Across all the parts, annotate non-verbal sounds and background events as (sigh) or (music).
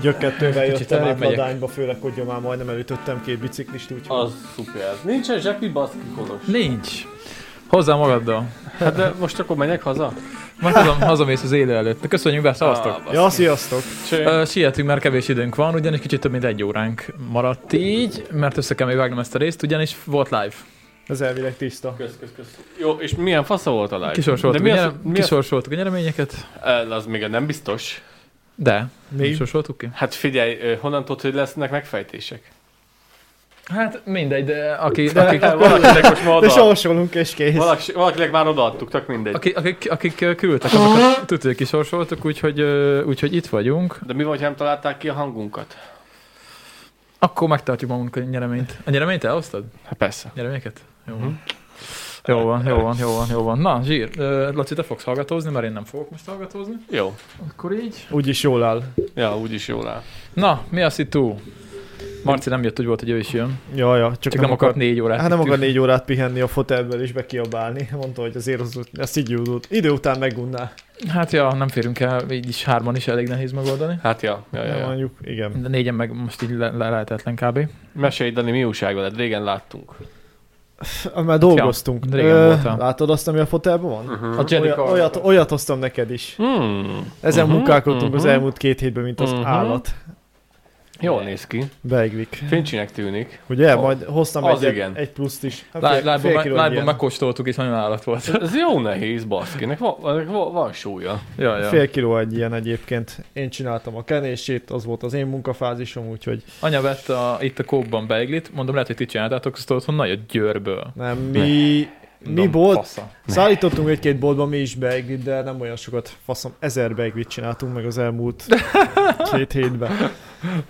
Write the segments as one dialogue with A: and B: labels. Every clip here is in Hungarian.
A: gyökkettővel
B: Kicsit
A: jöttem
B: előrébb
A: át
B: megyek.
A: Ladányba, főleg, hogy már majdnem elütöttem két biciklist, úgyhogy...
C: Az szuper. Nincsen zsepi baszki kolos.
B: Nincs. Hozzá magaddal.
C: Hát de most akkor menjek haza?
B: Már hazam, hazamész az élő előtt. De Köszönjük be, szavaztok.
C: Ah,
A: Ja, sziasztok!
C: Cső.
B: Ö, Sietünk, mert kevés időnk van, ugyanis kicsit több mint egy óránk maradt így, mert össze kell még vágnom ezt a részt, ugyanis volt live.
A: Ez elvileg tiszta.
C: Kösz, kösz, kösz. Jó, és milyen fasza volt a live?
B: Kisorsoltuk,
C: mi
B: a,
C: az,
B: nyerem,
C: mi az,
B: kisorsoltuk a nyereményeket,
C: Eh, az még nem biztos.
B: de
A: Mi?
B: mi? sorsoltuk ki.
C: Hát figyelj, ö, honnan tudod, hogy lesznek megfejtések?
B: Hát mindegy, de aki,
C: De
B: akik,
C: akik, valakinek most már
A: De
C: oda,
A: sorsolunk és kész.
C: valaki, valakinek már odaadtuk, tök
B: (laughs)
C: mindegy.
B: akik, akik, akik ö, küldtek, azokat tudod, hogy kisorsoltuk, úgyhogy, ö, úgyhogy itt vagyunk.
C: De mi vagy, ha nem találták ki a hangunkat?
B: Akkor megtartjuk magunkat a nyereményt. A nyereményt elosztad?
C: Hát persze.
B: Nyereményeket? Jó van. Mhm. Jó van, jó van, jó van, jó van. Na, Zsír, ö, Laci, te fogsz hallgatózni, mert én nem fogok most hallgatózni.
C: Jó.
B: Akkor így.
A: Úgyis jól áll.
C: Ja, úgyis jól áll.
B: Na, mi az itt túl? Marci nem jött, hogy volt, hogy ő is jön.
A: Ja, ja, csak,
B: Csak nem akart négy órát.
A: Hát nem
B: itt
A: akar négy órát pihenni a fotelből és bekiabálni. (laughs) Mondta, hogy azért az, az így jut. Idő után megunná.
B: ül. Hát ja, nem férünk el, így is hárman is elég nehéz megoldani.
C: Hát ja, ja, ja.
A: Nem
C: ja.
A: mondjuk, igen.
B: De négyen meg most így le- le- lehetetlen kb.
C: Mesélj, Dani, mi újság veled? Régen láttunk.
A: Már dolgoztunk.
B: Ja, régen voltál.
A: látod azt, ami a fotelben van?
C: Hm. Mhm.
B: A
A: Olyat,
B: Jericho.
A: olyat, olyat hoztam neked is.
C: Hmm.
A: Ezen
C: Mhm,
A: munkálkodtunk az
C: mhm.
A: elmúlt két hétben, mint az
C: Mhm.
A: állat.
C: Jól néz ki.
A: Beiglik.
C: Fincsinek tűnik.
A: Ugye?
C: Az-
A: Majd hoztam
C: az
A: egy,
C: igen.
A: egy pluszt is. Hát fél- fél kiló
B: Látban
A: ilyen.
B: megkóstoltuk, és nagyon állat volt.
C: Ez jó nehéz, baszki. Nek van, ennek van, van súlya.
B: Ja, ja.
A: Fél kiló egy ilyen egyébként. Én csináltam a kenését, az volt az én munkafázisom, úgyhogy
B: Anya vett a, itt a kóban beiglit, mondom, lehet, hogy ti csináltátok, azt otthon nagy a győrből.
A: nem, mi... Mi
B: Mondom,
A: volt?
B: Fasza.
A: Szállítottunk egy-két boltba mi is beiglit, de nem olyan sokat. Faszom, ezer beiglit csináltunk meg az elmúlt két hétben.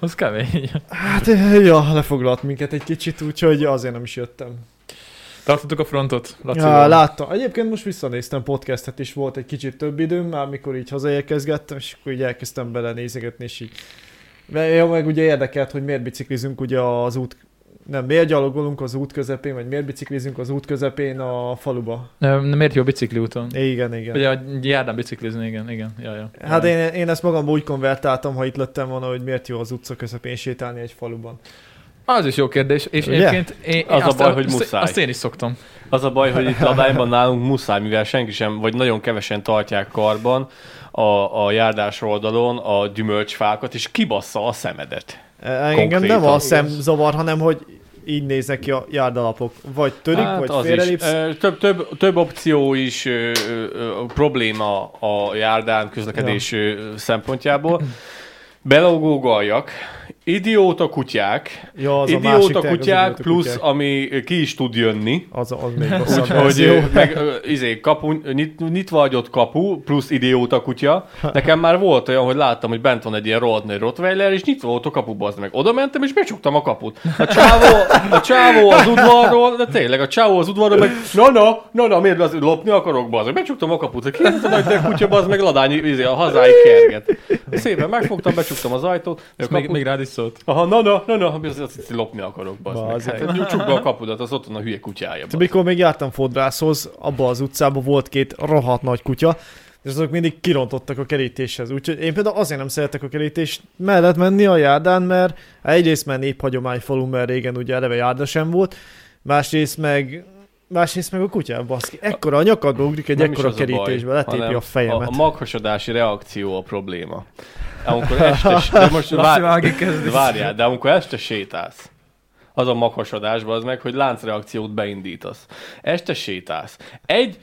B: Az kemény.
A: Hát, ja, lefoglalt minket egy kicsit, úgyhogy azért nem is jöttem.
B: Tartottuk a frontot, Laci.
A: Ja, láttam. Egyébként most visszanéztem podcastet is, volt egy kicsit több időm, már amikor így hazaérkezgettem, és akkor így elkezdtem belenézegetni, és így... Mert ja, meg ugye érdekelt, hogy miért biciklizünk ugye az út... Nem, miért gyalogolunk az út közepén, vagy miért biciklizünk az út közepén a faluba.
B: Ö, Miért jó bicikliúton?
A: Igen, igen.
B: Ugye a járdán biciklizni, igen, igen. Ja, ja.
A: Hát én, én ezt magam úgy konvertáltam, ha itt lettem volna, hogy miért jó az utca közepén sétálni egy faluban.
B: Az is jó kérdés, és
A: Ugye?
B: egyébként én,
C: Az a
B: azt-
C: baj, hogy
B: azt-
C: muszáj.
B: Azt én is szoktam.
C: Az a baj, hogy itt Ladányban nálunk muszáj, mivel senki sem, vagy nagyon kevesen tartják karban a, a járdás oldalon a gyümölcsfákat, és kibassza a szemedet.
A: E, Engem
C: Konkrétan.
A: nem a szem zavar, hanem hogy így néznek ki a járdalapok. Vagy törik, hát, vagy
C: az is.
A: félrelépsz.
C: Ö, Több, több, több opció is ö, ö, ö, probléma a járdán közlekedés ja. szempontjából. Belógó galjak, idióta kutyák,
A: Ja, az a másik
C: idióta
A: tényleg, az
C: kutyák,
A: idióta
C: plusz
A: kutyák.
C: ami ö, ki is tud jönni.
A: Az, az (laughs) még rosszabb
C: Hogy
A: verzió.
C: ö, meg ö, izé, kapu, nyit, nyitva hagyott kapu, plusz idióta kutya. Nekem már volt olyan, hogy láttam, hogy bent van egy ilyen rohadt nagy rottweiler, és nyitva volt a kapu, bazd meg. Oda mentem, és becsuktam a kaput. A csávó, a csávó az udvarról, de tényleg, a csávó az udvarról, meg na na, na na, miért bazd, lopni akarok, bazd meg. Becsuktam a kaput, ki ez a nagy tör kutya, bazd meg, ladányi, izé, a hazáig kerget. Szépen megfogtam, becsuktam az ajtót, a
B: Ezt
C: kaput,
B: még, még rád is szólt.
C: Aha, na, na, na, na, azt azt lopni akarok, bazd meg.
A: Bazd meg.
C: Hát, csukd be a kapudat, az ott van a hülye kutyája. bazd
A: Tehát Mikor még jártam fodrászhoz, abba az utcában volt két rohadt nagy kutya, és azok mindig kirontottak a kerítéshez. Úgyhogy én például azért nem szeretek a kerítés mellett menni a járdán, mert egyrészt már néphagyomány falu, mert régen ugye eleve járda sem volt, másrészt meg másrészt meg a kutyá, baszki. Ekkora a nyakadba ugrik egy
C: Nem is
A: ekkora
C: az a baj,
A: kerítésbe, letépi
C: hanem
A: a fejemet.
C: A, a maghasadási reakció a probléma.
A: (laughs)
C: Amikor este, de most
B: Laci
C: vár,
B: vágni kezdi.
C: várjál, de amikor este sétálsz, az a maghasodásban az meg, hogy láncreakciót beindítasz. Este sétálsz. Egy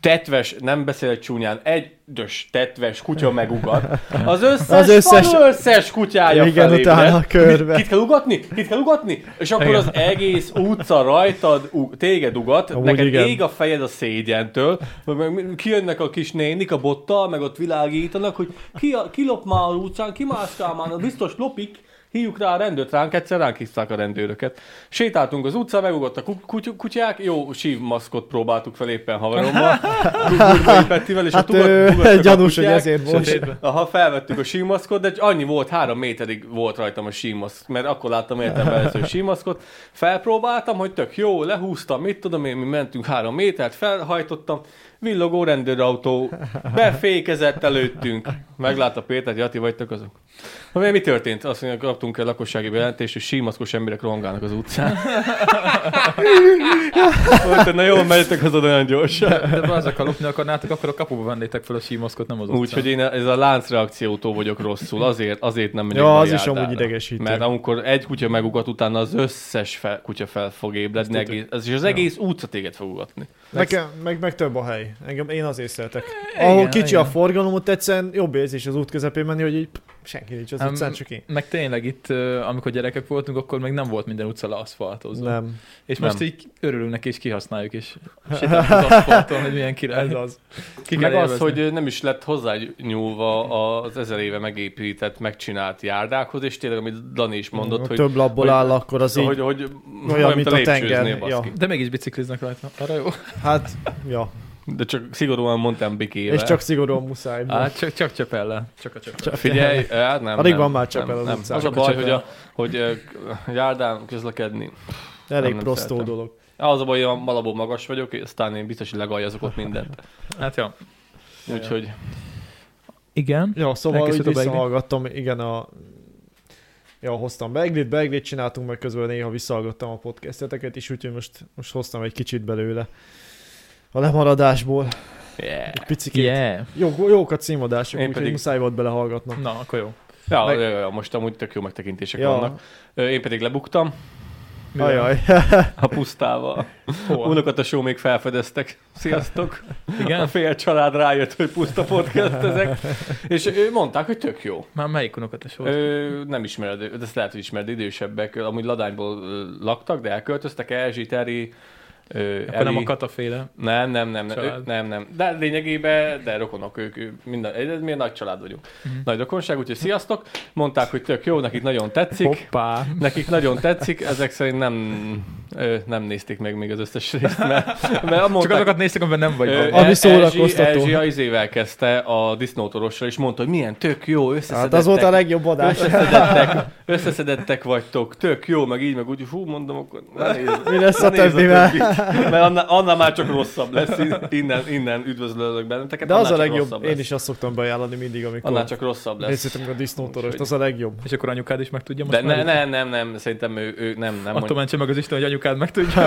C: tetves, nem beszélek csúnyán, egy dös tetves kutya megugat. Az összes,
A: Az
C: az
A: összes-
C: összes, összes kutyája
A: Igen,
C: felébred.
A: utána körbe.
C: Kit kell ugatni? Kit kell ugatni? És akkor
B: Igen.
C: az egész utca rajtad, u- téged ugat,
A: Amúgy
C: neked
A: igen.
C: ég a fejed a szégyentől, meg- meg kijönnek a kis nénik a bottal, meg ott világítanak, hogy ki, a, ki lop már a utcán, ki mászkál már, na biztos lopik, hívjuk rá a rendőrt, ránk egyszer ránk hívták a rendőröket. Sétáltunk az utcán, megugott a ku- kuty- kutyák, jó sívmaszkot próbáltuk fel éppen haverommal, Gurbai Pettivel, és
A: Hát
C: a tugat,
A: ő,
C: tugattak
A: (laughs) gyanús,
C: a
A: hogy
C: kutyák.
A: ezért volt.
B: Sötétbe.
C: Aha, felvettük a símaszkot, de annyi volt, három méterig volt rajtam a símaszk, mert akkor láttam értem először a símaszkot. Felpróbáltam, hogy tök jó, lehúztam, mit tudom én, mi mentünk három métert, felhajtottam, villogó rendőrautó, befékezett előttünk. Meglátta Péter, hogy Jati vagytok azok. Na, mi- mi történt? Azt mondja, kaptunk el lakossági bejelentést, hogy símaszkos emberek rohangálnak az
A: (laughs)
C: utcán. Mondta, na jól menjetek haza de olyan gyorsan.
B: De bazzak, ha lopni akarnátok, akkor a kapuba vennétek fel a símaszkot, nem az utcán.
C: Úgyhogy én ez a láncreakciótól vagyok rosszul, azért, azért nem megyek
A: Ja,
C: ma
A: az is
C: járdára.
A: amúgy idegesítő.
C: Mert amikor egy kutya megugat, utána az összes fel, kutya fel fog ébredni,
B: Ezt
C: egész, az, és az egész utca téged fog (laughs) ugatni.
A: Nekem, meg, meg több a hely. Engem, én azért szeretek. Ahol
B: igen,
A: kicsi
B: igen.
A: a forgalom, ott egyszerűen jobb érzés az út közepén menni, hogy így pff, senki nincs az
C: Hát,
B: Em,
A: utcán, csak én.
B: Meg tényleg itt, ö, amikor gyerekek voltunk, akkor még nem volt minden utca leaszfaltozva.
A: Nem,
B: És most
C: Nem.
B: így örülünk neki, és kihasználjuk is. Sétálunk az aszfalton, hogy milyen király.
A: ez az.
B: Ki
C: Meg
B: kell
C: az,
B: élvezni.
C: hogy nem is lett hozzányúlva az ezer éve megépített, megcsinált járdákhoz, és tényleg, amit Dani is mondott, hogy,
A: több labból
C: hogy-
A: áll,
C: Szóval,
A: akkor az
C: hogy,
A: így,
C: hogy, hogy
A: olyan, mint a
C: lépcsőznél,
A: tenger. Ja.
C: baszki.
B: De mégis bicikliznek rajta. Arra jó.
A: Hát, ja.
C: De csak szigorúan mondtam bikével.
A: És csak szigorúan muszáj.
B: Á, csak, csak csepellel. Csak a csepellel.
C: Hát, Figyelj, hát nem.
A: Alig
C: nem,
A: van már csepel
C: nem,
A: az
C: nem.
A: utcán.
C: Az a
A: Csak
C: baj,
B: a
C: hogy, a, hogy ö, járdán közlekedni.
A: (laughs) Elég
C: nem
A: prostó
C: szeretem.
A: dolog.
C: Az a baj, hogy én alapból magas vagyok, és aztán én biztos, hogy legaljazok ott
B: (laughs)
C: mindent.
B: Hát jó.
C: Úgyhogy
B: Igen.
A: Ja, szóval
B: Elkészült
A: így
B: a Beiglit?
A: visszahallgattam, igen, a... Ja, hoztam Beglit, Beglit csináltunk, meg közben néha visszahallgattam a podcasteteket is, úgyhogy most, most hoztam egy kicsit belőle. A lemaradásból,
C: yeah.
A: egy picikét.
B: Yeah.
A: Jó, jók a címadások,
C: Én
A: úgyhogy pedig...
C: pedig-
A: muszáj volt belehallgatnom.
B: Na, akkor jó.
C: Ja,
A: Meg-
C: meg... ja, ja, most amúgy tök jó megtekintések ja.
A: Ja,
C: vannak. Ö, Én pedig lebuktam
B: Mivel?
A: ajaj.
C: a pusztával.
B: Hol?
C: Unokatesó még felfedeztek. Sziasztok! A
B: (laughs) Igen?
C: fél család rájött, hogy puszta podcast ezek. És ő mondták, hogy tök jó.
B: Már melyik unokat volt?
C: Ö, nem ismered, de ezt lehet, hogy ismered, idősebbek. Amúgy Ladányból ö, laktak, de elköltöztek Erzsi, Teri, ö,
B: Akkor nem
C: Eli.
B: a kataféle.
C: Nem, nem, nem, nem,
B: Család.
C: Ő- nem, nem. De lényegében, de rokonok ők, ők minden, ez mi nagy család vagyunk.
B: Mhm.
C: Nagy rokonság, úgyhogy sziasztok. Mondták, hogy tök jó, nekik nagyon tetszik. Hopp.
B: Hoppá.
C: Nekik nagyon tetszik, ezek szerint nem, ö, nem nézték meg még az összes részt, mert, mert
B: Csak
C: mondták,
B: azokat néztek, amiben nem vagy.
C: ö,
B: benne.
A: ami
C: Erzsi-
A: szórakoztató.
C: Erzsi a izével kezdte a disznótorossal, és mondta, hogy milyen tök jó, összeszedettek.
A: Hát az volt a legjobb adás.
C: összeszedettek, összeszedettek vagytok, tök jó, meg így, meg úgy, hú, mondom, akkor ne nézd,
A: Mi lesz
C: ne
A: a
C: nézz
A: többivel?
C: többit, Mert annál, annál, már csak rosszabb lesz, innen, innen üdvözlök benneteket.
A: De az
C: annál
A: a
C: csak
A: legjobb,
C: rosszabb
A: én
C: lesz.
A: is azt szoktam beajánlani mindig, amikor
C: Annál csak rosszabb lesz.
A: nézhetünk a disznótorost, az a legjobb.
B: És akkor anyukád is meg tudja most
C: De
B: már?
C: ne, nem, nem, nem, szerintem ő, ő nem, nem.
B: Attól
C: mondja.
B: mentse meg az Isten, hogy anyukád meg
C: (laughs)
B: tudja.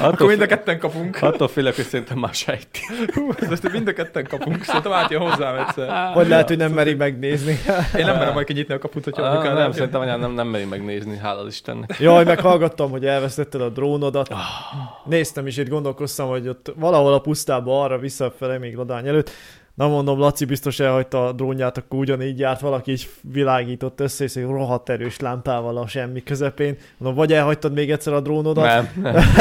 B: Akkor mind a ketten kapunk.
C: attól félek, hogy szerintem már sejti.
B: Hú, ezt mind a ketten kapunk. Szerintem átjön hozzám egyszer.
A: Vagy lehet, hogy nem meri
C: (laughs)
A: megnézni.
B: Én nem merem majd kinyitni a kaput, hogyha
C: Ah,
B: anyukád
C: nem,
B: átjön.
C: szerintem anyám nem, nem meri megnézni, hála az Istennek.
A: Jaj, meghallgattam, hogy elvesztetted a drónodat.
C: Ah.
A: Néztem is, itt gondolkoztam, hogy ott valahol a pusztába arra visszafele még ladány előtt. Na mondom, Laci biztos elhagyta a drónját, akkor ugyanígy járt, valaki is világított össze, és egy rohadt erős lámpával a semmi közepén. Mondom, vagy elhagytad még egyszer a drónodat,
C: Nem, nem,
A: (laughs)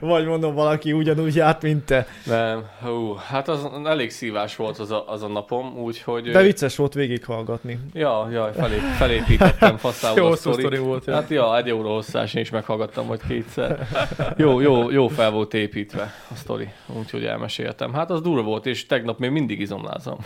A: vagy mondom, valaki ugyanúgy járt, mint te.
C: nem. Hú, hát az elég szívás volt az a, az a napom, úgyhogy...
A: De vicces volt végighallgatni.
C: Ja, ja, felép, felépítettem faszául
B: Jó
C: a
B: hosszú
C: sztorit.
B: sztori volt. ja.
C: Hát ja, egy óra hosszás, én is meghallgattam majd kétszer. Jó, jó, jó fel volt építve a sztori, úgyhogy elmeséltem. Hát az durva volt, és tegnap még mindig
A: (laughs)
C: izomlázom.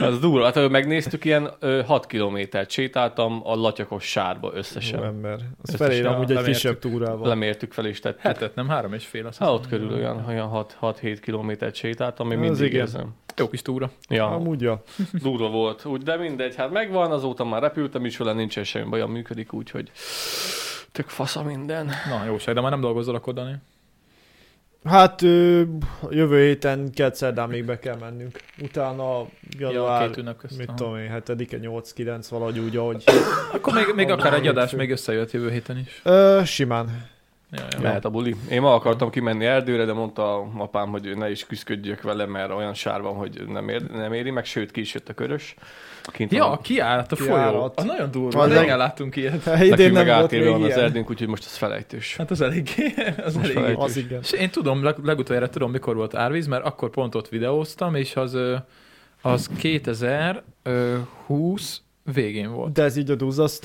C: az durva, hát ahogy megnéztük, ilyen 6 kilométert sétáltam a latyakos sárba
A: Jó
C: összesen.
A: ember. Az
B: Összesen
A: felére
B: a-
A: amúgy egy
B: lemértük.
A: kisebb túrával.
C: Lemértük fel és tettük. Hát,
B: Hetet, nem három és fél. Azt
C: hát
B: hiszem.
C: ott körül olyan, olyan 6-7 kilométert sétáltam, még
A: Az
C: mindig
A: igen.
C: érzem.
B: Jó kis túra.
C: Ja,
A: Amúgy ja.
C: durva volt. Úgy, de mindegy, hát megvan, azóta már repültem is vele, nincsen semmi bajom, működik, úgyhogy tök fasza minden.
B: Na, jóság, de már nem dolgozol akkor, Dani.
A: Hát ö, jövő héten kedszerdán még be kell mennünk. Utána
B: Ja,
A: január,
B: két ünnep közt.
A: mit
B: aha.
A: tudom én, 7-e, 8-9, valahogy úgy, ahogy.
B: Akkor még, még akár egy adás
A: Hétfő.
B: még összejött jövő héten is.
A: Ö, simán. (laughs)
B: Ja, ja.
C: Mehet Hát a buli. Én ma akartam kimenni erdőre, de mondta a apám, hogy ne is küzdködjök vele, mert olyan sár van, hogy nem, ér, nem éri, meg sőt, ki is jött a körös. Kint
B: Ja,
C: van.
B: kiállt a
A: Kiállt.
B: folyó. Az nagyon durva.
A: Az
B: Régen láttunk ilyet.
A: Idén
C: Nekünk
A: nem
C: meg
A: volt még
C: átérve van
A: ilyen.
C: az erdőnk, úgyhogy most az felejtős.
B: Hát az eléggé. (laughs) Az
C: Most
B: eléggé.
C: felejtős.
A: Az igen.
B: És én tudom, leg, legutoljára tudom, mikor volt árvíz, mert akkor pont ott videóztam, és az, ö, az 2020 végén volt.
A: De ez így a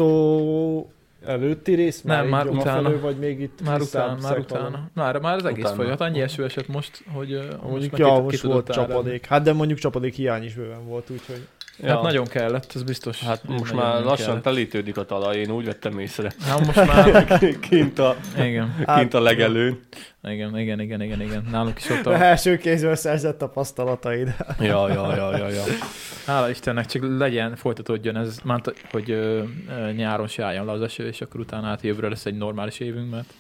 A: duzzasztó előtti rész?
B: Nem,
A: így
B: már
A: jobb
B: utána.
A: felől, vagy még itt
B: Már
A: visszább
B: utána, már
A: szekvalon?
B: utána. Már, már az egész
D: Utána.
B: utána. folyat. Annyi eső esett most, hogy ö,
A: Mondjuk,
B: már
A: ja,
B: ki- ki
A: most
B: tudott
A: volt
B: áramni.
A: csapadék. Hát de mondjuk csapadék hiány is bőven volt, úgyhogy...
B: Hát nagyon kellett, ez biztos.
C: Hát most
B: Nagyon
C: már
B: kellett.
C: lassan telítődik a talaj, én úgy vettem észre.
B: Hát most
A: (laughs)
B: már...
C: Kint a,
B: igen,
A: Hát,
C: kint a legelőn.
B: igen, igen, igen, igen, igen. Nálunk is ott
A: A
B: a...
A: első kézből szerzett tapasztalataid.
C: Ja, ja, ja, ja, ja.
B: Hála Istennek, csak legyen, folytatódjon ez, mert hogy ö, ö, nyáron se álljon le az eső, és akkor utána hát jövőre lesz egy normális évünk, mert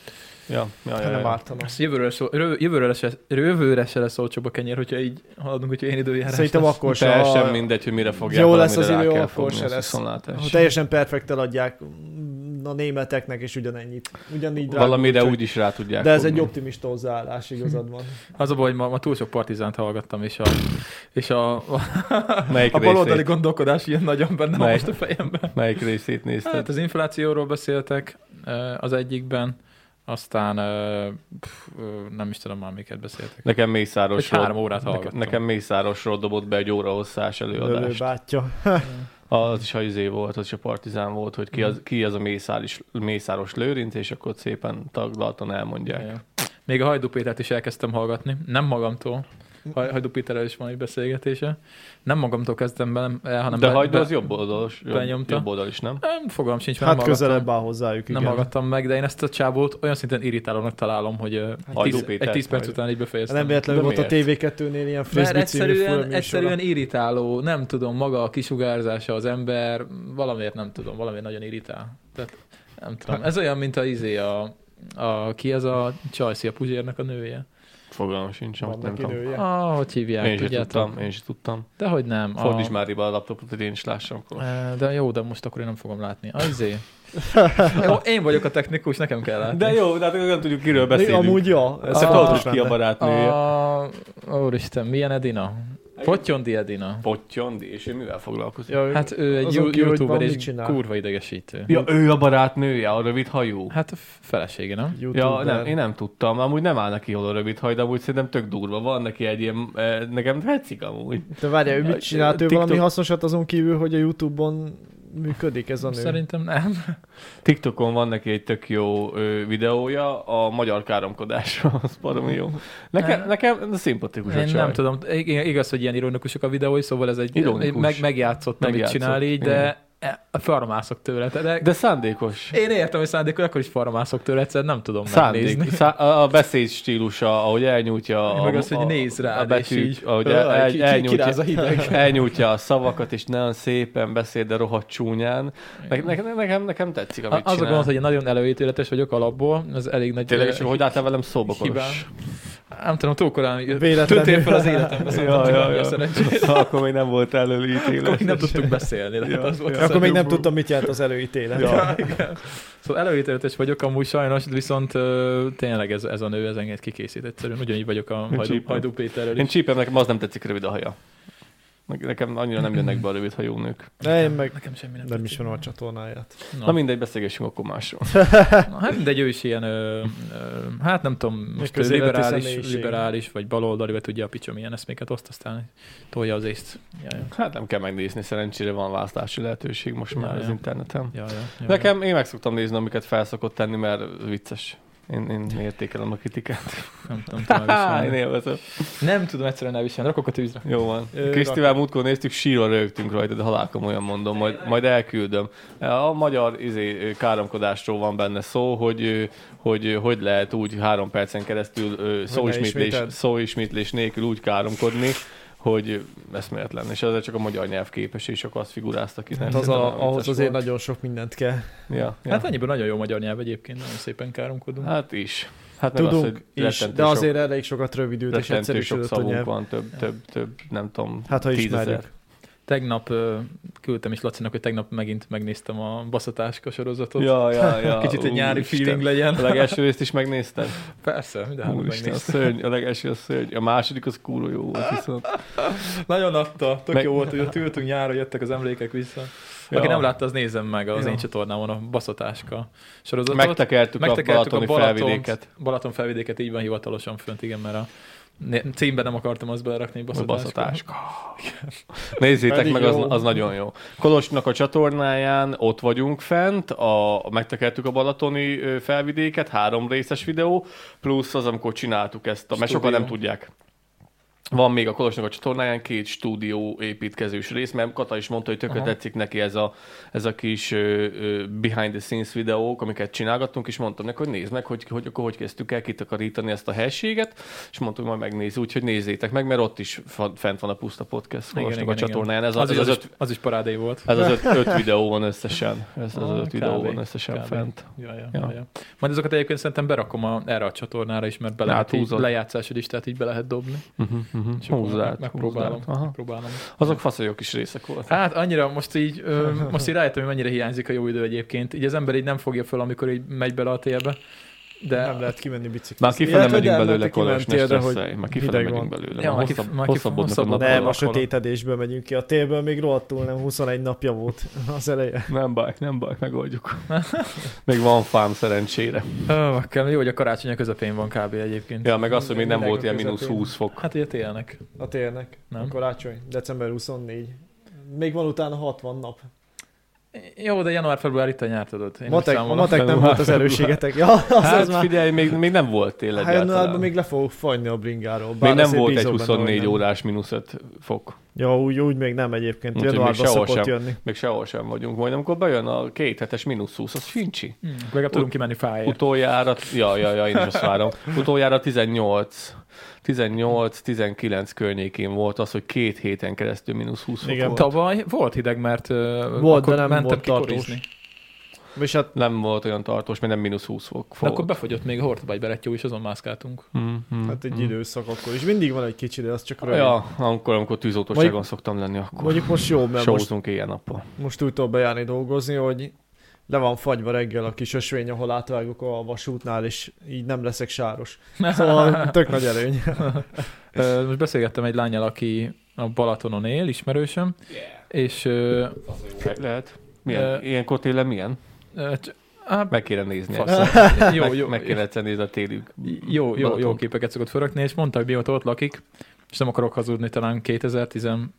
C: ja, ja, ja,
A: Hát Nem
C: ja.
A: ártanak.
B: ezt jövőre, szó, rö- jövőre, se, jövőre se lesz olcsóbb a kenyér, hogyha így haladunk, hogyha én időjárás
A: Szerintem
B: lesz.
A: akkor se.
C: Teljesen
A: a-
C: mindegy, hogy mire fogják
A: Jó
C: valamire
A: lesz az
C: rá
A: idő,
C: kell
A: akkor
C: fogni,
A: se
C: az
A: lesz.
C: viszontlátás.
A: Ha teljesen perfekt eladják mm, a németeknek, és ugyanennyit. Ugyanígy drágul,
C: Valamire
A: csak-
C: úgy is rá tudják
A: De ez egy
C: fogni.
A: optimista hozzáállás, igazad van.
B: Az a baj, hogy ma, ma túl sok partizánt hallgattam, és a, és a, a,
C: (laughs) Melyik
B: a baloldali
C: részét,
B: gondolkodás ilyen nagyon benne van
C: Mely?
B: most a fejemben.
C: melyik részét nézted?
B: Hát az inflációról beszéltek eh, az egyikben, aztán eh, pff, eh, nem is tudom már miket beszéltek.
C: Nekem
B: Egy
C: Mészárosról,
B: három órát
C: nekem,
B: hallgattam.
C: nekem Mészárosról dobott be egy óra hosszás
A: Lövő
C: előadást.
A: bátyja.
C: Az is a izé volt, az is a partizán volt, hogy ki az, ki az a mészáros, mészáros lőrinc, és akkor szépen taglaltan elmondják.
B: Ja. Még a Hajdú Pétert is elkezdtem hallgatni, nem magamtól. Haj- Hajdú Péterrel is van egy beszélgetése. Nem magamtól kezdtem be, nem- el, hanem...
C: Nem, De
B: be-
C: hagyd
B: be-
C: az jobb oldalos, jobb,
B: benyomta.
C: jobb oldal is, nem?
B: Nem, fogalmam sincs, mert
A: Hát
B: nem hallgattam.
A: közelebb áll hozzájuk, igen.
B: Nem hallgattam meg, de én ezt a csábót olyan szinten irritálónak találom, hogy ö,
C: Hajdú
B: tíz-
C: Péter,
B: egy 10 perc
C: Hajdú.
B: után így befejeztem.
A: Nem véletlenül
C: De
A: volt a
C: miért?
A: TV2-nél ilyen
B: Mert
A: frisbee című
B: egyszerűen,
A: furaműsora.
B: egyszerűen irritáló, nem tudom, maga a kisugárzása az ember, valamiért nem tudom, valamiért nagyon irritál. Tehát, nem
C: Hát-
B: tudom. Ez olyan, mint a izé, a, a ki ez a Csajci, a Puzsérnek a nője.
C: Fogalmam sincs,
A: Van
C: amit nem
A: neki
C: tudom.
A: nője.
B: Ah, hogy hívják,
C: Én is
B: tudjátok?
C: tudtam, én is tudtam.
B: De hogy nem.
C: Fordíts már riba a laptopot, hogy én is lássam. akkor.
B: Eh, De jó, de most akkor én nem fogom látni. Az
A: (laughs)
B: izé. Jó, én vagyok a technikus, nekem kell látni.
C: De jó, de hát nem tudjuk, kiről beszélünk.
A: Amúgy Ah, ja, ez
C: Ezt
A: fontos
C: tudod, hogy ki
A: lenne.
C: a
B: Ah.
C: barátnője.
B: a... Úristen, milyen Edina? Pottyondi Edina.
C: Potyondi, és ő mivel foglalkozik?
A: Ja,
B: Hát ő egy
A: Azon
B: Azon
A: kívül, hogy
B: youtuber
A: van,
B: és
A: mit csinál?
B: kurva idegesítő.
C: Ja, ő a barátnője, a rövid hajú.
B: Hát a felesége, nem?
C: Ja,
A: YouTuber.
C: nem, én nem tudtam, amúgy nem áll neki jól a rövid haj, de amúgy szerintem tök durva. Van neki egy ilyen, eh, nekem tetszik amúgy.
A: De várjál, ő
C: Ja,
A: mit csinált? Ő
C: TikTok-
A: valami hasznosat azon kívül, hogy a Youtube-on működik ez a nő.
B: Szerintem nem.
C: TikTokon van neki egy tök jó ö, videója, a magyar káromkodásról, (laughs) az baromi jó. Nekem,
B: Nem.
C: nekem szimpatikus a
B: Én
C: csaj.
B: nem tudom. I- Igaz, hogy ilyen ironikusok a videói, szóval ez egy
C: Ironikus.
B: meg, megjátszott, amit
C: Megjátszott,
B: csinál így, de e, farmászok tőle. De, de
C: De szándékos.
B: én értem, hogy szándékos, akkor is farmászok tőle, egyszer nem tudom
C: Szándék,
B: megnézni.
C: szá, a beszéd stílusa, ahogy elnyújtja a,
B: Meg az, hogy
C: a,
B: néz rád,
C: a
B: és
C: betűt,
B: így,
C: ahogy
B: "Aj,
C: el, el,
B: ki- ki-
C: elnyújtja,
B: kiráz a hideg."
C: (laughs) elnyújtja a szavakat, és nagyon szépen beszél, de rohadt csúnyán. Ne, ne, nekem, nekem tetszik,
B: A-
C: amit
B: Az a
C: csinál.
B: gond, hogy én nagyon előítőletes vagyok alapból, az elég nagy...
C: Tényleg, és hogy álltál velem szóba,
B: Hibám.
C: Kolos?
B: Nem tudom, túl korán
A: Véletlenül.
B: tűntél fel az
A: (laughs)
B: életembe, szóval
C: Ja,
B: ja,
C: ja,
B: ja,
C: ja.
B: szerencsére.
C: (laughs) Akkor még nem volt
B: Akkor még
C: előítélet.
B: nem tudtuk beszélni, de hát
C: Ja,
B: az volt
C: ja.
B: a
A: Akkor még nem
B: szomorú.
A: tudtam, mit jelent az előítélet.
C: Ja.
B: Szóval előítéletes vagyok amúgy sajnos, viszont ö, tényleg ez, ez a nő, ez engem kikészít egyszerűen. Ugyanígy vagyok a Hajdú,
C: csípem.
B: Hajdú Péterrel
C: Én
B: is.
C: csípem, nekem az nem tetszik rövid a haja. Ne- Nekem annyira nem jönnek be a rövid hajú nők.
A: De én meg
B: Nekem semmi nem
A: nem is
B: tetszik.
A: van a csatornáját.
B: Na,
C: Na mindegy, beszélgessünk akkor másról. (laughs)
B: na, hát, de ő is ilyen, ö, ö, hát nem tudom, most ő
A: közéleti
B: liberális,
A: személyiség.
B: liberális, vagy baloldali, vagy tudja a picsom ilyen eszméket oszt, aztán tolja az észt. Jaj,
C: Hát nem kell megnézni, szerencsére van választási lehetőség most már
B: Ja,
C: az
B: ja.
C: interneten.
B: jaj, jaj, jaj.
C: Nekem, én meg szoktam nézni, amiket felszokott tenni, mert vicces. Én, én értékelem a kritikát.
B: Nem tudom, tudom
C: Há, (laughs) én
B: elviselni.
C: élvezem.
B: Nem tudom egyszerűen elviselni, rakok a tűzre.
C: Jó van.
A: Ö,
C: Krisztivel múltkor néztük, sírva rögtünk rajta, de halálkom olyan mondom, majd, majd elküldöm. A magyar izé, káromkodásról van benne szó, hogy ö, hogy ö, hogy lehet úgy három percen keresztül ö, szóismétlés,
A: ismételd.
C: szóismétlés nélkül úgy káromkodni, hogy ö, eszméletlen. És ezzel csak a magyar nyelv képes, és akkor azt figuráztak ki.
A: Hát
C: Nem
A: az
C: tudom,
A: a, ahhoz
C: vicces
A: azért
C: volt.
A: nagyon sok mindent kell.
C: Ja, ja.
B: Hát annyiban nagyon jó magyar nyelv egyébként, nagyon szépen káromkodunk.
C: Hát is. Hát meg
A: Tudunk
C: az, hogy
A: is,
C: rettentő
A: de
C: sok-
A: azért elég sokat rövidült és
C: rettentő sok
A: egyszerűsödött a
C: szavunk
A: nyelv.
C: van, több, több, több, nem tudom,
A: Hát ha
C: tízezer.
A: ismerjük.
B: Tegnap ö, küldtem is Lacinak, hogy tegnap megint megnéztem a baszatáska sorozatot.
C: Ja, ja,
A: (laughs)
C: ja.
B: Kicsit egy nyári
C: úristen.
B: feeling
C: A
B: legyen.
C: legelső részt is megnézted?
B: (laughs) Persze, mindenhol
C: Úristen, a
B: hát megnéztem. Hát,
C: szörny, a legelső a szörny. A második az kúró jó volt viszont.
B: Nagyon adta, tök
C: Meg-
B: jó volt, hogy ott ültünk nyára, jöttek az emlékek vissza.
C: Ja.
B: Aki nem látta, az nézem meg az
A: Ja.
B: én csatornámon a baszatáska sorozatot.
C: Megtekertük, a
B: Megtekertük
C: Balatoni
B: Balatont,
C: felvidéket.
B: Balaton felvidéket így van hivatalosan fönt, igen, mert a né- címbe nem akartam azt belerakni,
C: A
B: baszotáskó.
C: baszatáska. Nézzétek
A: Pedig
C: meg, az,
A: jó.
C: az nagyon jó. Kolosnak a csatornáján ott vagyunk fent, a, megtekertük a balatoni ö, felvidéket, három részes videó, plusz az, amikor csináltuk ezt, a, mert sokan
B: Stúdió.
C: nem tudják. Van még a Kolosnak a csatornáján két stúdió építkezős rész, mert Kata is mondta, hogy tökre
B: Aha.
C: tetszik neki ez a, ez a kis ö, ö, behind the scenes videók, amiket csinálgattunk, és mondtam neki, hogy nézd meg, hogy, hogy, akkor hogy kezdtük el kitakarítani ezt a helységet, és mondtuk, hogy majd megnézzük, úgyhogy nézzétek meg, mert ott is fa- fent van a Puszta Podcast
B: Igen,
C: Kolosnak
B: igen,
C: a
B: igen.
C: csatornáján. Ez, a,
B: Az,
C: ez,
B: az,
C: az,
B: az,
C: öt,
B: is, az is parádé volt.
C: ez az öt, öt videó van összesen. Ez az
B: Ah,
C: öt videó
B: kb.
C: van összesen
B: Kb.
C: fent.
B: Ja, ja,
C: Ja.
B: ja. Ja. Majd azokat egyébként szerintem berakom a, erre a csatornára is, mert be
C: Hát,
B: lehet így,
C: húzod.
B: lejátszásod is, tehát így be lehet dobni.
C: Uh-huh, uh-huh.
B: És akkor
C: Húzzád,
B: megpróbálom.
C: húzzád. Aha.
B: Próbálom.
C: Azok faszajok is részek voltak.
B: Hát annyira most így, (laughs) ö, most így rájöttem, hogy mennyire hiányzik a jó idő egyébként. Így az ember így nem fogja föl, amikor így megy bele a télbe. De
A: Nem lehet kimenni biciklizni.
C: Már kifele
A: Illetve,
C: megyünk
A: de
C: belőle,
A: elmentek,
C: Kolos, ne
A: kimentél, de hogy
C: stresszelj. Már kifele
A: hideg
C: megyünk
A: van.
C: belőle.
B: Ja,
C: Már
B: már kif-
C: hosszabb-
B: már kif-
C: Hosszabbodnak a
B: hosszabb-
C: napok.
A: Nem,
B: Valahol.
A: a sötétedésből megyünk ki. A télből még rohadtul nem 21 napja volt az eleje.
C: Nem baj, nem baj,
A: (laughs)
C: megoldjuk. Még van fám szerencsére.
B: Ö, kell, jó, hogy a karácsony a közepén van kb. egyébként.
C: Ja, meg az, hogy még nem
A: Világ
C: volt
A: a
C: ilyen mínusz
A: közepén.
C: 20 fok.
B: Hát ugye télnek.
A: A télnek.
B: Nem.
A: A karácsony. December 24. Még van utána 60 nap.
B: Jó, de január-február itt a nyár, tudod. Én úgy
A: Matek, a
B: számolom.
A: matek nem
C: február,
A: volt az erősségetek. Ja, az, az
C: Hát
A: már.
C: figyelj, még, még nem volt tényleg
A: Hát januárban
C: egyáltalán.
A: még le fogok fagyni a bringáról.
C: Még
A: bár
C: nem
A: azért
C: volt egy
A: bízom benne, hogy
C: 24
A: nem.
C: órás mínusz 5 fok.
A: Ja, úgy, úgy még nem egyébként.
C: Úgyhogy még
A: Januárban
C: sehol
A: szokott
C: sem.
A: jönni.
C: Még sehol sem vagyunk. Majd amikor bejön a két hetes mínusz 20, az fincsi.
B: Hmm, legalább tudunk kimenni fájért.
C: Utoljára, ja, ja, ja, én is azt várom. Utoljára 18, 18-19 környékén volt az, hogy két héten keresztül mínusz 20 fok
A: Igen.
C: volt.
B: Tavaly volt hideg, mert ö,
A: Volt,
B: akkor
A: de nem
B: mentem
A: volt tartós.
B: kikorizni.
A: És hát
C: Nem volt olyan tartós, mert nem mínusz 20 fok
B: De
C: volt.
B: akkor befogyott még a hortobágy berettyó, és azon mászkáltunk.
C: Mm-hmm.
A: Hát egy időszak akkor is. Mindig van egy kicsi, de az csak rövid.
C: Ja, amikor, amikor tűzoltóságon szoktam lenni, akkor
A: Mondjuk most jó, mert most,
C: sózunk éjjel-nappal.
A: most úgy tudok bejárni dolgozni, hogy le van fagyva reggel a kis ösvény, ahol átvágok a vasútnál, és így nem leszek sáros.
C: (laughs)
A: Szóval tök nagy előny.
B: (laughs) Ö, Most beszélgettem egy lányjal, aki a Balatonon él, ismerősöm, és ö,
C: Lehet. Milyen,
B: Ö,
C: ilyenkor télen milyen?
B: ö, c- á,
C: Meg kéne nézni.
B: Fasz.
C: egyszer.
B: jó,
C: meg,
B: jó,
C: meg kéne egyszer nézni a téli.
B: jó, jó, jó
C: Balatont.
B: képeket szokott fölökni, és mondta, hogy mióta ott lakik, és nem akarok hazudni, talán 2012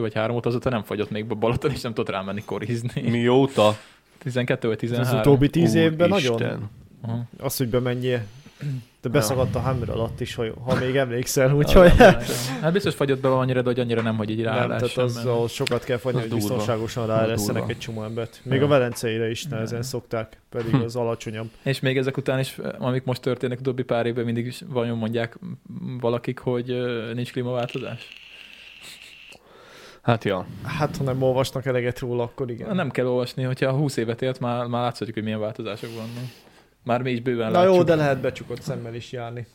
B: vagy 3 óta azóta nem fagyott még be Balaton, és nem tudott rámenni korizni.
C: Mióta?
B: 12 vagy
A: Az
B: 13.
A: utóbbi tíz évben nagyon.
C: Úristen.
B: Aha.
A: Az, hogy bemenjél. De
C: Ja.
A: beszakadt a hámra alatt is, ha, ha még emlékszel, úgyhogy
B: Úgyhogy... Hát biztos fagyott be annyira, de hogy annyira nem, hogy így
A: nem,
B: ráállás.
A: tehát az, ahol sokat kell fagyni,
C: Az
A: hogy
C: durva.
A: biztonságosan
C: durva.
A: ráeresztenek egy csomó embert. Még
C: Ja.
A: a Velencére is nehezen
B: Ja.
A: szokták, pedig
C: Hm.
A: az alacsonyabb.
B: És még ezek után is, amik most történnek utóbbi pár évben, mindig is vajon mondják m- valakik, hogy ö, nincs klímaváltozás?
C: Hát ja.
A: Hát, ha nem olvasnak eleget róla, akkor igen.
B: Nem kell olvasni, hogyha 20 évet élt, már, már látszhatjuk, hogy milyen változások vannak. Már mi is bőven
A: Na
B: látjuk.
A: jó, de lehet becsukott szemmel is járni.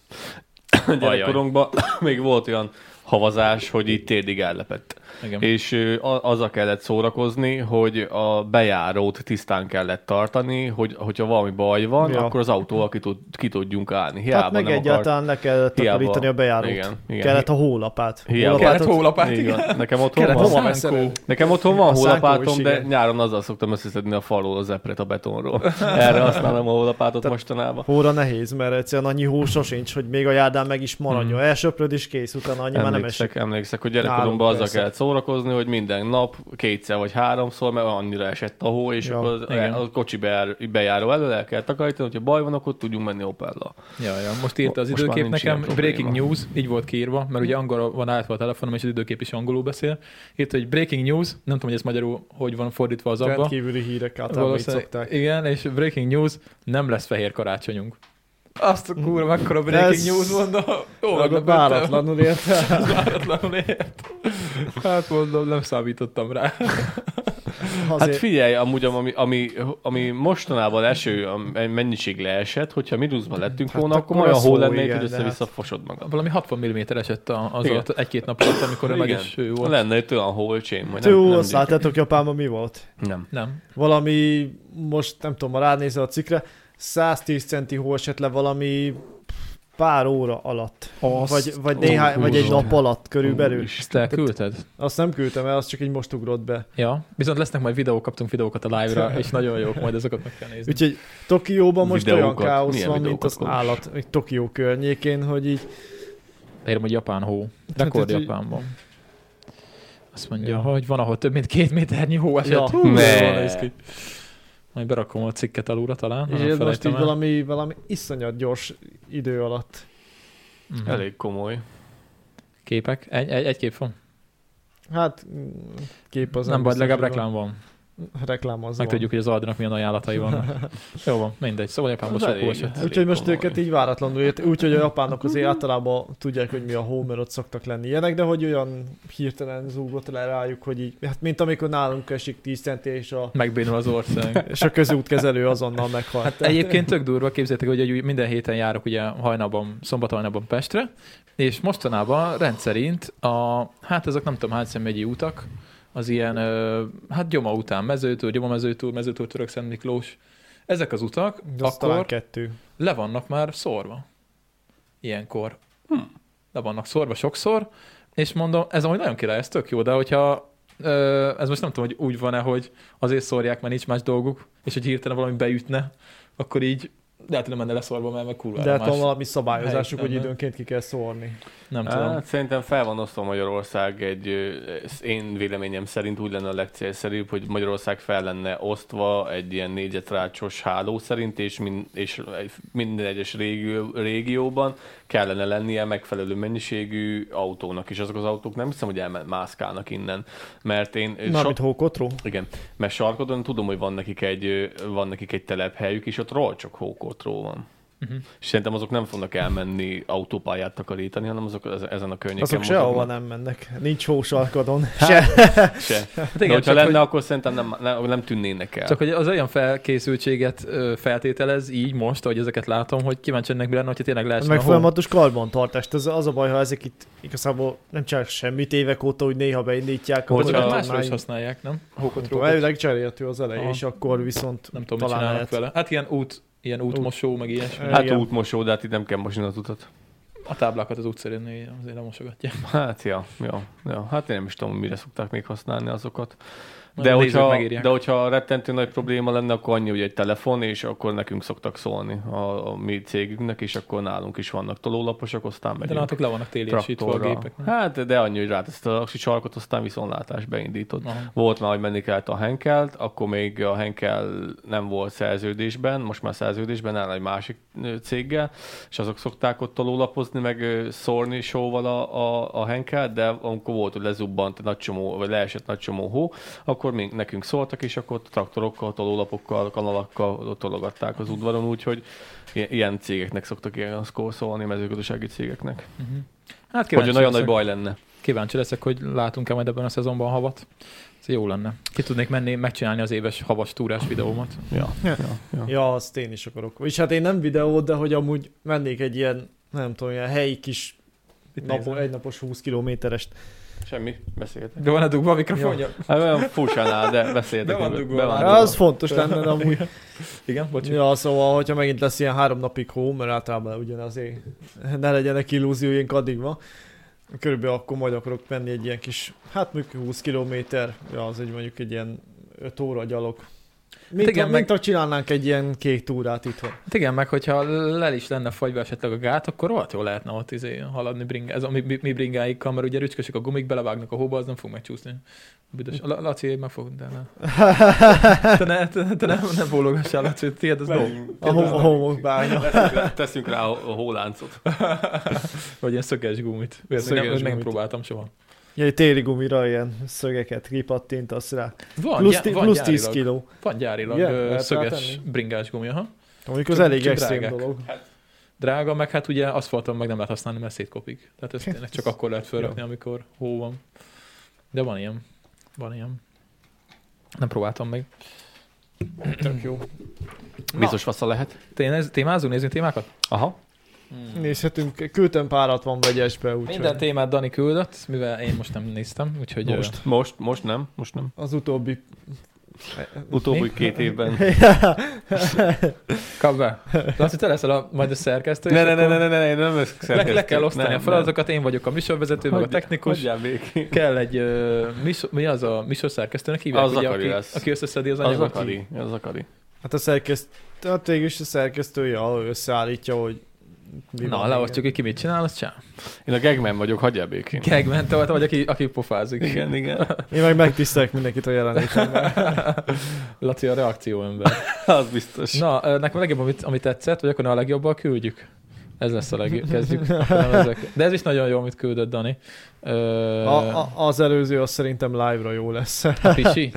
C: Gyerekkorunkban (laughs) még volt olyan havazás, hogy itt térdig ellepett.
B: Igen.
C: És ö, a- azzal kellett szórakozni, hogy a bejárót tisztán kellett tartani, hogy hogyha valami baj van,
A: Ja.
C: akkor az autóval ki, tud, ki tudjunk állni.
A: Hiába
C: Hiába
A: hát meg
C: nem akart
A: egyáltalán le kellett
C: Hiába.
A: takarítani a bejárót.
C: Igen, igen.
A: Kellett a hólapát.
C: Hiába.
B: Kellett
A: Hólapátot-
B: hólapát,
C: Így
B: igen.
C: van. Nekem otthon
B: Kellett
A: hova
C: van.
B: a
A: veszed?
B: szánkó.
C: Nekem otthon van
A: A szánkó
C: hólapátom,
A: is,
C: de
A: igen.
C: nyáron azzal szoktam összeszedni a falról az epret a betonról. Erre használom a hólapátot mostanában.
A: Hóra nehéz, mert egyszerűen annyi hó sosincs, hogy még a járdán meg is maradjon.
B: Mhm.
A: Elsöpröd is kész, utána annyi már nem esik.
C: Hmm. Emlékszek, emlékszek, hogy
A: Nálunk
C: gyerekkoromban azzal
A: persze.
C: kellett szórakozni, hogy minden nap kétszer vagy háromszor, mert annyira esett a hó, és
A: Ja,
C: akkor az,
B: igen.
C: a kocsi bejár, bejáró elől el kell takarítani, hogyha baj van, akkor tudjunk menni Opella.
B: Ja, ja. Most írta az
C: Most már
B: időkép
C: nincs
B: nekem,
C: ilyen probléma.
B: breaking news, így volt kiírva, mert ugye angol van általában a telefonom, és az időkép is angolul beszél. Írta, hogy breaking news, nem tudom, hogy ez magyarul hogy van fordítva az abba.
A: Rendkívüli hírek általában így
B: Valószínűleg,
A: szokták.
B: igen, és breaking news, nem lesz fehér karácsonyunk. Azt a kurva, mekkora breaking
A: Ez-
B: news mondom. Jó,
A: Akkor
B: meglepődtem.
A: váratlanul
C: (laughs) Hát
A: érte.
B: Váratlanul ért. Hát mondom, nem számítottam rá.
A: Azért,
C: Hát figyelj, amúgy ami, ami, ami mostanában eső, a mennyiség leesett, hogyha mínuszban lettünk
A: Hát
C: volna, akkor
A: akkor
C: olyan
A: az
C: hó
A: hó,
C: lennél,
A: igen,
C: hogy
A: de hát-
C: össze-vissza fosod magad.
B: Valami 60 mm esett a- az
C: Igen.
B: alatt, egy-két nap alatt, amikor a
C: Igen.
B: megeső volt.
C: Lenne itt olyan holcsém, hogy nem,
A: Jó,
C: nem,
A: azt láttátok Japánban mi volt?
C: nem.
B: Nem.
A: Valami, most nem tudom, ha ránézel a cikkre, 110 centi hó esett le valami pár óra alatt.
B: Azt
A: vagy, vagy, néhány, vagy egy
C: Úristen.
A: nap alatt körülbelül.
B: Ezt elküldted?
A: Azt nem küldtem el, azt csak így most ugrott be.
B: Ja. Viszont lesznek majd videók, kaptunk videókat a
A: (laughs)
B: live-ra, és nagyon jók, majd azokat meg kell nézni.
A: Úgyhogy Tokióban most
C: Videókat?
A: olyan káosz
C: Milyen
A: van, mint
C: videókat,
A: az
C: Kolos?
A: állat, még Tokió környékén, hogy így
B: Érem, hogy Japán hó.
A: Hát
B: Rekord
A: ez így-
B: Japánban. Azt mondja,
A: Ja.
B: hogy van, ahol több mint két méternyi hó esett.
A: Ja.
B: Ja. Hú,
C: Ne.
B: ne. Jól néz ki. Majd berakom a cikket alulra talán.
A: És
B: ha nem
A: ez most
B: felejtem
A: így
B: el.
A: valami, valami iszonyat gyors idő alatt.
B: Mhm.
C: Elég komoly.
B: Képek? Egy, egy, egy kép van?
A: Hát mm, kép az
B: Az nem baj,
A: biztos,
B: legalább
A: hogy
B: reklám van.
A: van. Reklám az
B: Meg
A: van.
B: tudjuk, hogy az Aldinak milyen ajánlatai vannak.
A: (laughs)
B: Jó van, mindegy. Szóval Japánban
C: Az
B: sok
C: elég.
B: hó esett.
C: Elég
A: Úgyhogy most
C: komoly.
A: őket így váratlanul ért, úgyhogy a japánok azért általában tudják, hogy mi a hó, mert ott szoktak lenni ilyenek, de hogy olyan hirtelen zúgott le rájuk, hogy így, hát mint amikor nálunk esik 10 centi, és a,
B: Megbénul az ország.
A: (laughs) és a közútkezelő azonnal meghalt.
B: Hát egyébként tök durva, képzeljétek, hogy egy- minden héten járok ugye hajnalban, szombat hajnalban Pestre, és mostanában rendszerint a, hát ezek nem tudom hány személyi utak, az ilyen, ö, hát gyoma után, mezőtúr, gyoma mezőtúr, mezőtúr török Szent Miklós, ezek az utak
A: De az talán
B: akkor
A: kettő.
B: le vannak már szórva. Ilyenkor. Hm. Le vannak szórva sokszor, és mondom, ez amúgy nagyon király, ez tök jó, de hogyha ö, ez most nem tudom, hogy úgy van-e, hogy azért szórják, mert nincs más dolguk, és hogy hirtelen valami beütne, akkor így lehet, hogy nem menne leszorva, mert meg kurvára
A: De hát
B: más.
A: van valami szabályozásuk, hogy
B: helyzetben.
A: időnként ki kell szórni.
B: Nem tudom.
C: Hát, szerintem fel van osztva Magyarország egy, ö, ez én véleményem szerint úgy lenne a legcélszerűbb, hogy Magyarország fel lenne osztva egy ilyen négyzetrácsos háló szerint, és, min, és egy- minden egyes régió, régióban kellene lennie megfelelő mennyiségű autónak, és azok az autók nem hiszem, hogy elmászkálnak innen, mert én
A: Na, mint hókotró?
C: igen, mert sarkodon tudom, hogy van nekik egy, ö, van nekik egy telephelyük, és ott rolcsok hókotró van.
B: Mhm.
C: Uh-huh. És szerintem azok nem fognak elmenni autópályát takarítani, hanem azok ez- ezen a környéken
A: Azok sehova nem mennek. Nincs hó sarkadon. Se.
B: (laughs)
C: Se. Hát
B: igen,
C: igen, hogyha
B: csak
C: lenne,
B: hogy-
C: akkor szerintem nem, nem, nem tűnnének el.
B: Csak hogy az olyan felkészültséget ö, feltételez így most, ahogy ezeket látom, hogy kíváncsi lennék mi lenne, hogyha tényleg leesne
A: Meg
B: a hó.
A: folyamatos karbantartást. Az, az a baj, ha ezek itt igazából nem csinálnak semmit évek óta, úgy néha beindítják.
B: Hogy
A: akkor
B: másra
A: már-
B: is használják, nem?
A: Nem tudom,
B: Hókotrókat.
A: Elvileg cserélhető az elején,
B: Aha.
A: és akkor viszont
B: Nem tudom, mit
A: talán
B: csinálnak
A: lehet.
B: vele. Hát ilyen út, ilyen útmosó, meg ilyesmi.
C: Hát
A: igen.
C: útmosó, de hát itt nem kell mosni az utat.
B: A táblákat az utcérén azért lemosogatják.
C: Hát, ja, ja, ja. Hát én nem is tudom, mire szokták még használni azokat.
B: Majd
C: De
B: a nézők
C: hogyha,
B: megírják.
C: de hogyha rettentő nagy probléma lenne, akkor annyi, hogy egy telefon, és akkor nekünk szoktak szólni a, a mi cégünknek, és akkor nálunk is vannak tolólaposok, aztán
B: De
C: megyünk.
B: nálatok le vannak téliesítve a
C: traktorral.
B: gépek. nem?
C: Hát, de annyi, hogy ráteszed a aksi sarkot, aztán viszontlátás beindított.
B: Aha.
C: Volt már, hogy menni kellett a Henkelt, akkor még a Henkel nem volt szerződésben, most már szerződésben áll egy másik ö, céggel, és azok szokták ott alulapozni, meg ö, szórni sóval a, a, a Henkelt, de amikor volt, hogy lezubbant nagy csomó, vagy leesett nagy csomó hó, akkor még nekünk szóltak, és akkor ott traktorokkal, tolólapokkal, kanalakkal ott tologatták az udvaron, úgyhogy i- ilyen cégeknek szoktak ilyen szkór szólni, mezőgazdasági cégeknek.
B: Hát
C: Hogy
B: kíváncsi,
C: olyan
B: leszek,
C: nagy baj lenne.
B: kíváncsi leszek, hogy látunk-e majd ebben a szezonban havat. Ez jó lenne. Ki tudnék menni, megcsinálni az éves havas túrás videómat.
C: Ja. ja. ja.
A: Ja, azt én is akarok. És hát én nem videót, de hogy amúgy mennék egy ilyen, nem tudom, ilyen helyi kis
B: Mit
A: napo,
B: nézel?
A: egynapos 20 kilométerest.
C: Semmi, beszéltek.
B: De van a dugva a mikrofonja?
C: Hát olyan fúsánál, de beszéltek.
B: Be van
C: meg-
B: dugva,
C: be van
B: már.
C: dugva.
A: Az fontos
B: (laughs)
A: lenne, de amúgy.
B: Igen, bocs.
A: Ja, szóval, hogyha megint lesz ilyen három napig hó, mert általában ugyanazért ne legyenek illúzióink addig ma. Körülbelül akkor majd akarok menni egy ilyen kis, hát mondjuk 20 kilométer, ja, az egy mondjuk egy ilyen 5 óra gyalog. Mint,
B: igen,
A: igen, ha,
B: meg-
A: mint ha csinálnánk egy ilyen kék túrát itthon.
B: Hát igen, meg hogyha lel is lenne fagyva esetleg a gát, akkor rohadt jól lehetne ott izé haladni bringá. Ez a mi, mi, mi bringáikkal, mert ugye rücskösök a gumik, belevágnak a hóba, az nem fog megcsúszni.
C: (laughs)
B: Büdös. La, Laci, meg fog, de ne. (laughs) Te, ne, te, te nem, nem bólogassál, Laci, tiéd az dolg.
A: A, hom- a homokbánya.
C: Teszünk rá- Teszünk rá a a hóláncot.
B: (laughs) Vagy ilyen szöges gumit. Olyat
A: Szöges
B: még nem, nem
A: gumit.
B: próbáltam soha.
A: Ja, egy téli gumira ilyen szögeket kipattintasz rá.
B: Van,
A: Plusz,
B: gyá-
A: ti,
B: van
A: plusz 10
B: gyárilag,
A: kiló.
B: Van gyárilag
A: Igen,
B: yeah,
A: lehet
B: szöges
A: rátenni?
B: bringás gumi, aha.
A: Amik az
B: Csak-
A: elég
B: csak
A: extrém
B: drágák.
A: dolog.
B: Drága, meg hát ugye aszfalton meg nem lehet használni, mert szétkopik. Tehát ezt tényleg csak akkor lehet felrakni, amikor hó van. De van ilyen. Van ilyen. Nem próbáltam meg.
A: Tök jó.
C: Biztos fasza lehet.
B: Tényleg, témázunk, nézzünk témákat?
C: Aha.
A: Nézhetünk, küldtem párat van vegyesbe, úgyhogy.
B: Minden témát Dani küldött, mivel én most nem néztem, úgyhogy... ö,
A: Most.
C: Most, most nem, most nem.
A: Az utóbbi...
C: Utóbbi
B: Mi?
C: két évben.
B: Kap be. Laci, te leszel a, majd a szerkesztő, és
C: (laughs) Ne, ne, ne,
B: akkor
C: ne, ne, ne, ne, nem ezt
B: Le, le, kell
C: szerkesztjük.
B: osztani
C: Nem,
B: a feladatokat, én vagyok a műsorvezető, meg a
C: Hagyja-
B: technikus.
C: Hagyjál békén.
B: Kell egy, ö, miso, mi az a műsorszerkesztőnek hívják,
C: Az
B: ugye,
C: Zakari
B: aki,
C: lesz.
B: aki összeszedi az
C: Az
B: anyagot?
C: akari, az akari.
A: Hát a szerkesztő, hát végül is a szerkesztője ahol összeállítja, hogy mi
B: Na,
A: van
B: leosztjuk, hogy ki mit csinál, azt csinál.
C: Én a gagman vagyok, hagyjál békén.
B: Kegment, vagy, vagy aki, aki pofázik.
C: Igen, igen. (laughs)
A: még. Én meg megtisztelek mindenkit a jelenétemben.
B: (laughs) Laci a reakció ember.
C: Az biztos.
B: Na, ö, nekem a legjobb, amit, amit tetszett, vagy akkor ne a legjobban küldjük. Ez lesz a
C: (laughs)
B: legjobb. Kezdjük. akkor nem ezek. De ez is nagyon jó, amit küldött Dani. Ö,
A: A, a, az előző az szerintem live-ra jó lesz.
B: A pisi?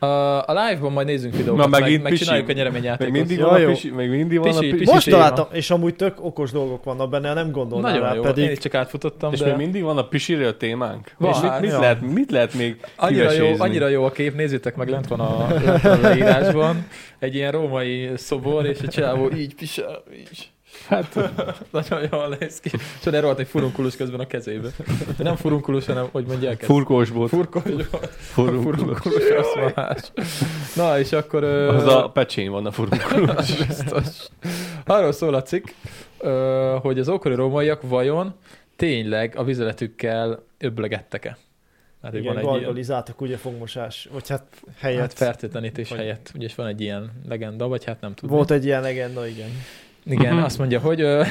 B: A, a live-ban majd nézzünk videókat,
C: Na, megint
B: meg, megcsináljuk a
C: pisi.
B: nyereményjátékot.
C: Még mindig
A: Ja,
C: van a
A: jó.
C: pisi, még mindig van a
B: hát Pisi,
C: pisi.
B: pisi.
A: Most
B: téma.
A: találtam, és amúgy tök okos dolgok vannak benne, nem gondolnám
B: Nagyon
A: rá,
B: jó, pedig... én
A: pedig
B: is csak átfutottam,
C: És
B: de
C: még mindig van a pisire a témánk?
B: Van.
C: és mit, mit,
A: Ja.
C: lehet, mit lehet még
B: annyira jó,
C: kivesézni?
B: annyira jó a kép, nézzétek meg, lent van a, lent van a leírásban, egy ilyen római szobor, és a csávó így pisel, így.
C: Hát,
B: Nagyon jól néz ki. És erre volt egy furunkulus közben a kezébe. De nem furunkulus, hanem, hogy mondják ezt.
C: furkós volt.
B: Furkolus,
C: Furunkulós.
B: furunkulus, az más. Na, és akkor... ö,
C: Az a pecsén van a furunkulós.
B: (laughs) Biztos. Arról szól a cikk, ö, hogy az ókori rómaiak vajon tényleg a vizeletükkel öblegettek-e? Hát, hogy
A: igen,
B: van egy ilyen,
A: gargalizáltak ugye fogmosás, vagy hát
B: hát
A: helyett. Hát
B: fertőtlenítés
A: Vagy-
B: helyett. Ugye és van egy ilyen legenda, vagy hát nem tudom.
A: volt egy ilyen legenda, igen.
B: Igen, azt mondja, hogy
A: (laughs)
B: ö,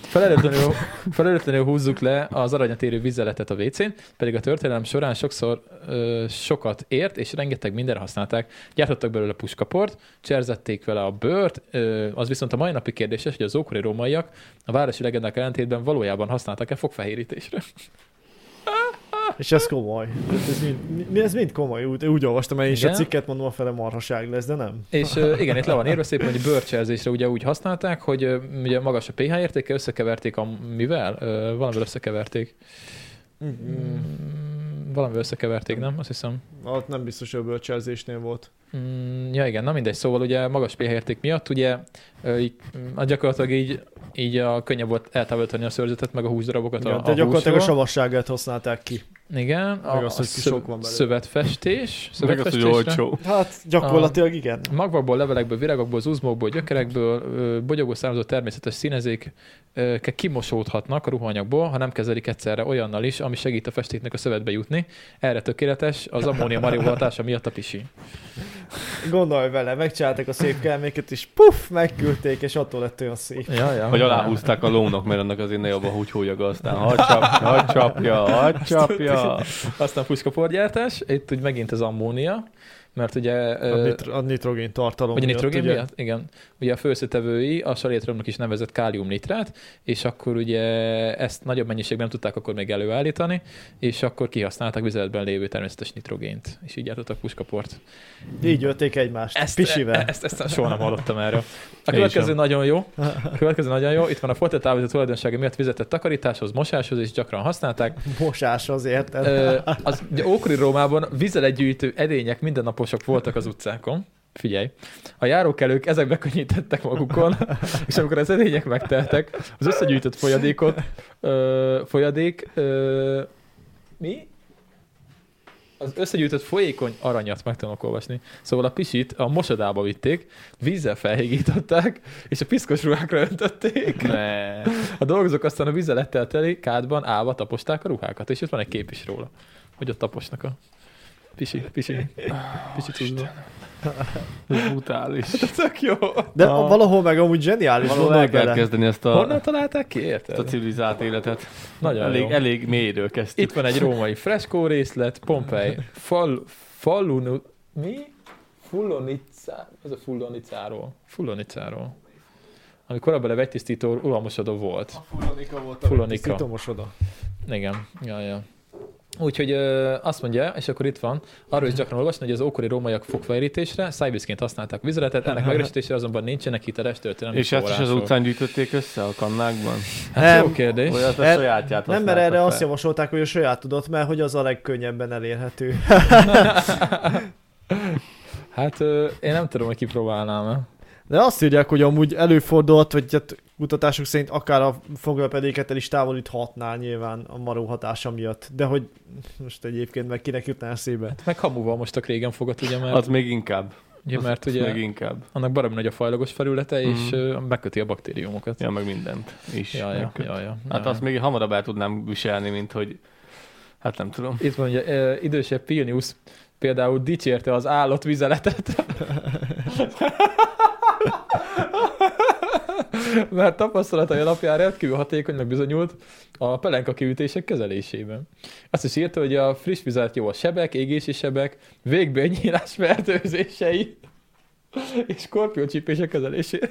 B: felelőtlenül, felelőtlenül húzzuk le az aranyat érő vizeletet a WC-n, pedig a történelem során sokszor ö, sokat ért, és rengeteg mindenre használták. Gyártottak belőle puskaport, cserzették vele a bőrt, ö, az viszont a mai napi kérdéses, hogy az ókori rómaiak a városi legendák ellentétben valójában használtak-e fogfehérítésre.
A: És ez komoly. Tehát Ez mind, mi- mi- ez mind komoly, úgy, úgy olvastam el is a
B: Igen?
A: cikket, mondom, a fele marhaság lesz, de nem.
B: És ö, igen, itt le van írva szépen, hogy bőrcserzésre ugye úgy használták, hogy ö, ugye magas a pH értéke, összekeverték a mivel? Ö, Valamivel összekeverték. Mm, valamivel összekeverték, nem? Azt hiszem.
A: Ott nem biztos, hogy a bölcselzésnél volt.
B: Mm, ja igen, na mindegy, szóval ugye magas pH érték miatt ugye ö, így, mm, gyakorlatilag így, így a könnyebb volt eltávolítani a szőrzetet, meg a húsdarabokat
A: Igen,
B: a,
A: de
B: a
A: gyakorlatilag a
B: húsról.
A: savasságát használták ki.
B: Igen,
A: meg azt, hogy
B: szöv-
A: sok van belőle.
B: szövetfestés.
C: Meg az, hogy
B: szövetfestésre.
C: olcsó.
A: Hát gyakorlatilag igen.
B: Magvakból, levelekből, virágokból, zuzmokból, gyökerekből, ö, bogyogó származó természetes színezék ö, ke- kimosódhatnak a ruhanyagból, ha nem kezelik egyszerre olyannal is, ami segít a festéknek a szövetbe jutni. Erre tökéletes az ammónia marió hatása miatt a pisi.
A: (laughs) Gondolj vele, megcsinálták a szép kelméket, és puff, megküldték, és attól lett olyan szép.
B: Ja, ja.
C: Vagy aláhúzták a lónak, mert annak azért ne jobb a húgyhólyaga, aztán hadd csap, hadd csapja, hadd csapja.
B: Aztán puskaporgyártás, itt úgy megint az ammónia, mert ugye...
A: A,
B: ö,
A: nitro, a nitrogén tartalom
B: Vagy a nitrogén
A: ugye?
B: miatt? Igen. Ugye a főszetevői a salétromnak is nevezett káliumnitrát, és akkor ugye ezt nagyobb mennyiségben nem tudták akkor még előállítani, és akkor kihasználták vizeletben lévő természetes nitrogént, és így gyártottak puskaport.
A: Így ölték egymást,
B: Ezt, e-
A: ezt, pisivel.
B: Ezt, ezt, ezt soha nem hallottam erről. A
C: sem.
B: következő nagyon (laughs) jó. A következő nagyon jó. Itt van a folytatott áldozat tulajdonsága miatt vizetett takarításhoz, mosáshoz is gyakran használták.
A: Mosás azért.
B: e- Ö, az ugye ókori Rómában vizeletgyűjtő edények mindennaposok voltak az utcákon. Figyelj. A járókelők ezekbe könnyítettek magukon, és amikor az edények megteltek, az összegyűjtött folyadékot, ö, folyadék, ö, mi? Az összegyűjtött folyékony aranyat, meg tudok olvasni. Szóval a pisit a mosodába vitték, vízzel felhigították, és a piszkos ruhákra öntötték.
C: Ne.
B: A dolgozók aztán a vizelettel teli kádban állva taposták a ruhákat, és itt van egy kép is róla, hogy ott taposnak a pisi, pisi, pisi cuccba.
C: Brutális.
B: Tök jó.
A: De
C: a-
A: valahol meg amúgy
B: Hát,
A: zseniális,
C: Hát, Valahol
A: gondolj
C: el kell
A: bele.
C: kezdeni ezt a,
B: Honnan találták ki,
C: ezt a
B: érted?
C: civilizált életet.
B: Nagyon
C: elég,
B: jó.
C: elég mélyről kezdtük.
B: Itt van egy római freskó részlet, Pompei, fal, falunu, mi? Fullonica, ez a Fullonicáról. Fullonicáról. Ami korábban egy vegytisztító uralmasodó volt.
C: Furonika volt
B: Fullonika.
A: Szitomos oda.
B: Igen, ja, ja. Úgyhogy ö, azt mondja, és akkor itt van, arról is gyakran olvasni, hogy az ókori rómaiak fogfelérítésre, szájvízként használták vizeletet, ennek megerősítésére azonban nincsenek hiteles történelmi
C: És ezt is az
B: források.
C: utcán gyűjtötték össze a kannákban?
B: Hát jó
A: Nem.
B: kérdés.
C: Olyat a
A: El-
C: sajátját
A: Nem, mert
C: használtak
A: erre
C: fel.
A: azt javasolták, hogy a saját tudat, mert hogy az a legkönnyebben elérhető.
B: Hát ö, én nem tudom, hogy kipróbálnám-e.
A: De azt írják, hogy amúgy előfordulhat, vagy hát kutatások szerint akár a foglalpedéket el is távolíthatná nyilván a maró hatása miatt. De hogy most egyébként meg kinek jutná eszébe?
B: Meg hamuval most a régen fogott, ugye, mert,
C: Az még inkább.
B: ugye, mert
C: Az
B: ugye
C: Még inkább.
B: annak baromi nagy a fajlagos felülete, és ö, megköti a baktériumokat.
C: Ja, meg mindent is.
B: ja, ja,
C: Megköt.
B: ja, ja,
C: Hát
B: ja.
C: azt még hamarabb el tudnám viselni, mint hogy... Hát nem tudom.
B: Itt van, ugye, ö, idősebb Pilnius például dicsérte az állatvizeletet. mert tapasztalatai alapján rendkívül hatékonynak bizonyult a pelenka kiütések kezelésében. Azt is írta, hogy a friss vizet jó a sebek, égési sebek, végbőnyírás fertőzései és skorpiócsípések kezelésére.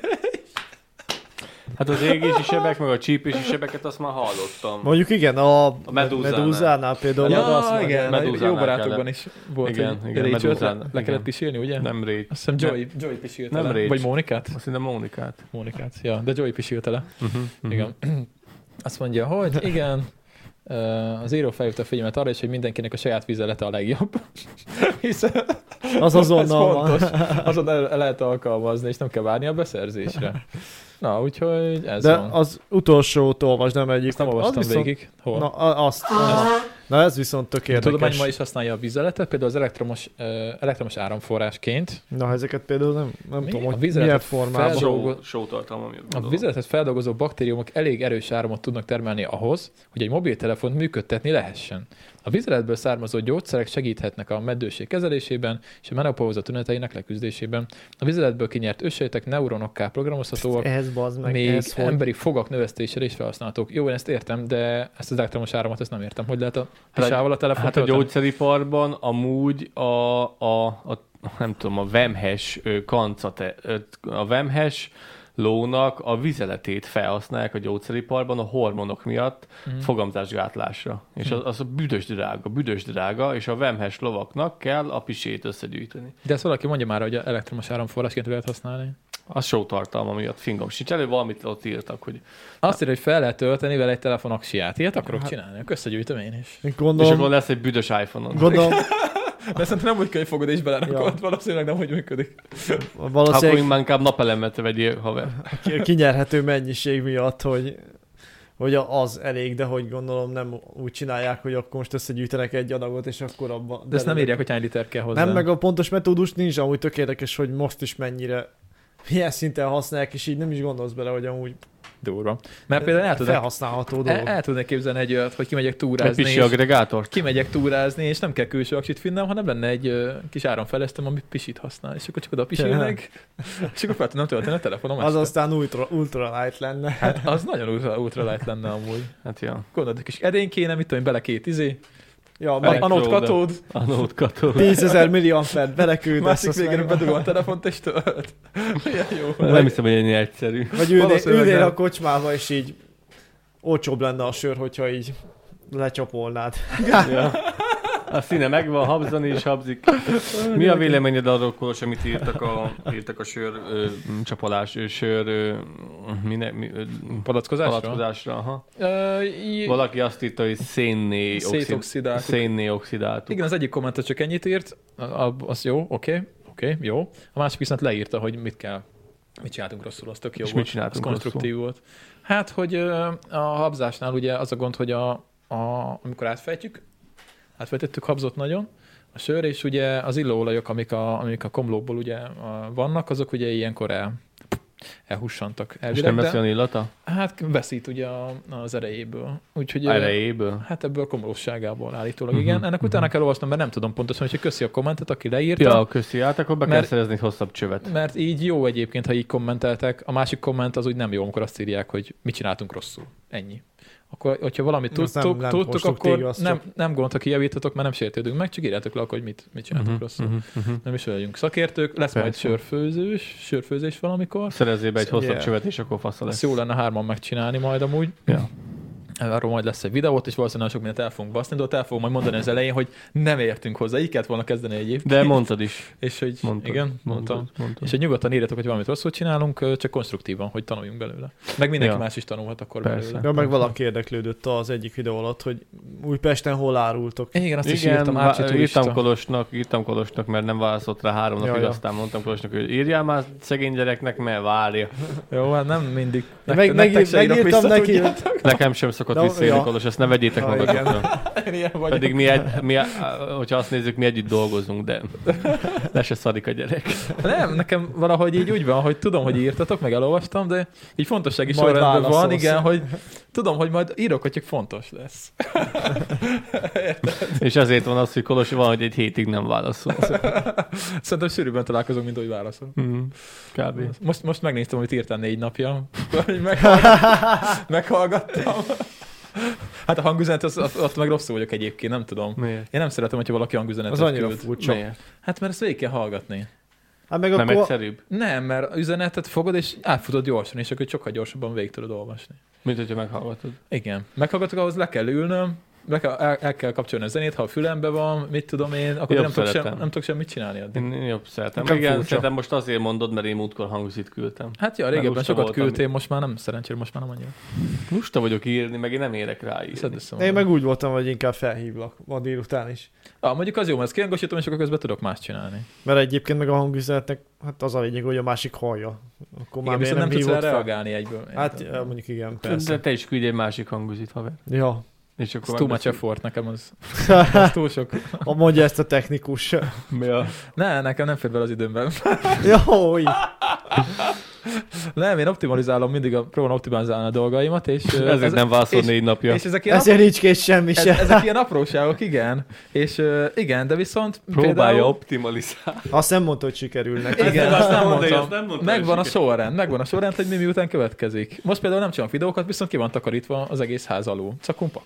B: (laughs)
C: Hát az égési sebek, meg a csípési sebeket azt már hallottam.
A: Mondjuk igen, a, a
C: medúzánál.
A: medúzánál például.
C: Ja,
A: Ja.
C: azt mondja, medúzánál
B: jó barátokban
C: kellett.
B: is volt,
C: Igen,
B: hogy
C: igen,
B: Rachel-t
C: medúzánál,
B: le, le kellett
C: igen.
B: pisilni, ugye?
C: Nem rét.
B: Azt hiszem Joey, Joey pisilte
C: nem
B: le.
C: Rach.
B: Vagy Mónikát?
C: Azt hiszem Mónikát.
B: Mónikát, ja, de Joey pisilte le.
C: Uh-huh,
A: Mhm.
B: Igen. (clears throat) Azt mondja, hogy igen, ö, az író felhívta a figyelmet arra is, hogy mindenkinek a saját vizelete a legjobb. (laughs) Hiszen
A: Az azonnal van.
B: ez fontos. Azon el, el lehet alkalmazni, és nem kell várni a
A: (laughs)
B: beszerzésre. Na, úgyhogy ez
A: De
B: van.
A: az utolsót olvasd, nem egyik.
B: Ezt nem olvastam
A: viszont...
B: végig. Hol?
A: Na, a- azt. Na ez viszont tök
B: a tudomány
A: érdekes.
B: ma is használja a vizeletet, például az elektromos, ö, elektromos áramforrásként.
A: Na ezeket például nem, nem
B: Mi?
A: tudom,
B: A
A: hogy
B: vizeletet
A: milyen formában.
B: fel-
C: Show, show tartalma miatt
B: A
C: gondolom.
B: vizeletet feldolgozó baktériumok elég erős áramot tudnak termelni ahhoz, hogy egy mobiltelefont működtetni lehessen. A vizeletből származó gyógyszerek segíthetnek a meddőség kezelésében és a menopauza tüneteinek leküzdésében. A vizeletből kinyert ősejtek neuronokká programozhatóak,
A: Ehhez bazd meg,
B: még
A: ehhez hogy...
B: emberi fogak növesztésére is felhasználhatók. Jó, én ezt értem, de ezt az elektromos áramot ezt nem értem. Hogy lehet a
C: Hát a-
B: pisával a telefon
C: Hát a gyógyszeriparban amúgy a, a, a nem tudom, a vemhes ö, kancate, ö, a vemhes lónak a vizeletét felhasználják a gyógyszeriparban a hormonok miatt
A: Hm.
B: Mhm.
C: fogamzásgátlásra. És az, az a büdös drága, büdös drága, és a vemhes lovaknak kell a pisét összegyűjteni.
B: De ezt valaki mondja már, hogy elektromos áramforrásként lehet használni.
C: Az show tartalma miatt fingom sincs. Elő valamit ott írtak, hogy...
B: Azt írja, hogy fel lehet tölteni vele egy telefon aksiát. Ilyet akarok csinálni, akkor összegyűjtöm én is.
C: És
A: Gondolom,
C: akkor lesz egy büdös iPhone-on.
B: (laughs)
A: gondolom,
B: De szerintem nem úgy kell, hogy fogod és belerakod,
A: Ja.
B: valószínűleg nem úgy működik.
C: Akkor
A: valószínűleg
C: inkább inkább napelemet vegyél, haver.
A: ki- kinyerhető mennyiség miatt, hogy hogy a- az elég, de hogy gondolom nem úgy csinálják, hogy akkor most összegyűjtenek egy adagot, és akkor abban...
B: De ezt nem írják, hogy hány liter kell hozzá.
A: Nem, meg a pontos metódus nincs, amúgy tök érdekes, hogy most is mennyire milyen szinten használják, és így nem is gondolsz bele, hogy amúgy
B: durva. Mert például el E- tudnék,
A: felhasználható
B: el,
A: dolog.
B: el tudnék képzelni egy olyat, hogy kimegyek
C: Egy
B: túrázni,
C: pisi
B: és,
C: agregátort.
B: kimegyek túrázni, és nem kell külső aksit finnem, hanem lenne egy ö, kis áramfejlesztőm, ami pisit használ, és akkor csak oda pisilnek, és akkor fel tudnám tölteni a telefonom.
A: Az aztán ultra, ultra light lenne.
B: Hát az nagyon ultra, ultra light lenne amúgy.
C: Hát ja.
B: Gondolod, egy kis edény kéne, mit tudom, én, bele két izé,
A: Ja,
C: Elég.
A: meg
B: anód
C: Elektróda.
B: katód,
C: Anód kató.
A: 10 ezer milliampert beleküldesz.
B: másik
A: azt
B: végén
A: meg-
B: bedugom a telefont és tölt. Milyen jó.
C: Nem hiszem, hogy ennyi egyszerű.
A: Vagy ülné-
B: Valószínűleg
A: ülnél
B: nem.
A: a kocsmába, és így olcsóbb lenne a sör, hogyha így lecsapolnád.
C: Ja. A színe megvan, habzani is habzik. Mi a véleményed arról, Kolos, amit írtak a, írtak a sör ö, csapolás, ö, sör ö, minek, mi, ö,
B: Palackozásra?
C: palackozásra? Aha.
B: Ö, i-
C: Valaki azt írta, hogy szénné oxid,
B: Szétoxidáltuk.
C: szénné oxidáltuk.
B: Igen, az egyik kommentet csak ennyit írt, a- a- az jó, oké, oké, jó. A másik viszont leírta, hogy mit kell, mit csináltunk rosszul, az tök jó
C: És
B: volt.
C: mit csináltunk
B: az konstruktív volt. Hát, hogy ö, a habzásnál ugye az a gond, hogy a, a, amikor átfejtjük, átfejtettük habzott nagyon, a sör, és ugye az illóolajok, amik a, amik a komlókból ugye a, vannak, azok ugye ilyenkor el, elhussantak
C: És
B: elvileg,
C: nem lesz
B: de
C: olyan illata?
B: hát veszít ugye a- az erejéből. Úgyhogy ö,
C: Erejéből?
B: Hát ebből komolóságából állítólag,
C: Mhm,
B: igen. Ennek
C: mhm.
B: utána kell olvasnom, mert nem tudom pontosan, hogy köszi a kommentet, aki leírta.
C: Ja, köszi, hát akkor be kell
B: Mert-
C: szerezni hosszabb csövet.
B: Mert így jó egyébként, ha így kommenteltek. A másik komment az úgy nem jó, amikor azt írják, hogy mit csináltunk rosszul. Ennyi. Akkor, hogyha valamit
A: Azt nem-
B: tudtuk,
A: nem
B: tudtuk
A: mostuk
B: akkor
A: téged, azt
B: nem, nem gond, ha kijavítotok, mert nem sértődünk meg, csak írjátok le, akkor, hogy mit, mit csináltunk
C: Mhm,
B: rosszul.
C: mhm, mhm.
B: Nem is vagyunk szakértők, lesz majd
C: Persze.
B: sörfőzős, sörfőzés valamikor.
C: Szerezzél be egy hosszabb
A: Yeah.
C: csövet, és akkor fasza Szóval lesz.
B: Ezt Szóval- jó lenne hárman megcsinálni majd amúgy.
C: Ja.
B: Arról majd lesz egy videót, és valószínűleg sok mindent el fogunk baszni, de ott el fogom majd mondani az elején, hogy nem értünk hozzá, így kellett volna kezdeni egyébként.
C: De mondtad is.
B: És hogy
C: Mondtad.
B: igen, mondtam.
C: Mondtad, mondtad.
B: És hogy nyugodtan írjatok, hogy valamit rosszul csinálunk, ö, csak konstruktívan, hogy tanuljunk belőle. Meg mindenki
C: Ja.
B: más is tanulhat akkor
C: Persze.
B: belőle.
A: Ja, meg valaki érdeklődött az egyik videó alatt, hogy Újpesten hol árultok.
B: Igen, azt is
C: Igen,
B: írtam,
C: vá-
B: Ácsi turista.
C: írtam Kolosnak, írtam Kolosnak, mert nem válaszolt rá három napig,
A: Ja, ja.
C: aztán mondtam Kolosnak, hogy írjál már szegény gyereknek, mert várja.
B: Jó, hát nem mindig.
A: Meg, meg, meg, megírtam neki, hogy
C: Nekem sem szokott
A: Na,
C: visszaélni
A: ja.
C: Kolos, ezt ne vegyétek
A: Ha,
C: magatokra.
A: (laughs)
C: Pedig
B: Pedig
C: mi, egy, mi, hogyha azt nézzük, mi együtt dolgozunk, de le se szarik a gyerek.
B: (laughs) Nem, nekem valahogy így úgy van, hogy tudom, hogy írtatok, meg elolvastam, de így fontossági
A: Majd
B: sorrendben van,
A: válaszolsz.
B: igen, hogy Tudom, hogy majd írok, hogy csak fontos lesz.
C: És ezért van az, hogy Kolos van, hogy egy hétig nem válaszol.
B: Szerintem sűrűbben találkozunk, mint ahogy válaszol.
A: Hmm.
C: Mm, kb.
B: Most, most megnéztem, amit írtál négy napja. Hogy meg, meghallgattam. Hát a hangüzenet, az, az, ott meg rosszul vagyok egyébként, nem tudom.
C: Miért?
B: Én nem szeretem, hogyha valaki hangüzenetet
A: Az annyira
B: küld.
A: furcsa.
C: Miért?
B: Hát mert ezt végig kell hallgatni.
A: Hát meg
C: Nem
A: akkor...
C: egyszerűbb?
B: Nem, mert üzenetet fogod, és átfutod gyorsan, és akkor sokkal gyorsabban végig tudod olvasni.
C: Mint hogyha meghallgatod.
B: Igen. Meghallgatok, ahhoz le kell ülnöm, le kell, el, el, kell kapcsolni a zenét, ha a fülembe van, mit tudom én, akkor
C: Jobb
B: nem tudok, sem,
C: szeretem.
B: nem tudok semmit csinálni addig.
A: Mm.
C: Én jobb szeretem.
A: Nekem
C: Igen,
A: furcsa.
C: szerintem most azért mondod, mert én múltkor hangzit küldtem.
B: Hát ja,
C: Mert
B: régebben
C: lusta
B: sokat
C: voltam.
B: küldtél, most már nem, szerencsére most már nem annyira.
C: Lusta vagyok írni, meg én nem érek rá
B: Viszont
C: írni.
B: össze
A: Én meg úgy voltam, hogy inkább felhívlak ma délután is.
B: Ah, mondjuk az jó, mert ezt kiangosítom, és akkor közben tudok más csinálni.
A: Mert egyébként meg a hangüzenetnek, hát az a lényeg, hogy a másik hallja. Akkor már
B: Igen,
A: miért
B: viszont nem,
A: nem,
B: tudsz rá
A: hívott fel?
B: reagálni egyből.
A: Hát eh, mondjuk igen,
C: De
A: persze.
C: te is küldj egy másik hangzit, haver.
A: Ja. (laughs)
C: És akkor
B: Ez too much
C: megbeszéljük.
B: effort, nekem az, az túl sok.
A: Ha mondja ezt a technikus. (laughs)
C: Ja.
B: Ne, nekem nem fér bele az időmben. (laughs)
A: Jó, így.
B: Nem, én optimalizálom, mindig a próbálom optimalizálni a dolgaimat, és... ö,
C: Ezért nem vászol
B: és-
C: négy napja.
B: És ezek ilyen,
A: Ezért nincs kész semmi
B: ez,
A: se.
B: ezek ilyen apróságok, igen. És ö, igen, de viszont
C: Próbálja
B: például...
C: optimalizálni.
A: Azt nem mondta, hogy sikerül neki. (laughs)
B: Igen,
C: Ezt
B: azt nem
C: mondta,
B: mondtam.
C: ezt nem mondta,
B: Megvan a
C: hogy
B: sorrend, megvan a sorrend, hogy mi miután következik. Most például nem csinálok videókat, viszont ki van takarítva az egész ház alul. Csak kumpak.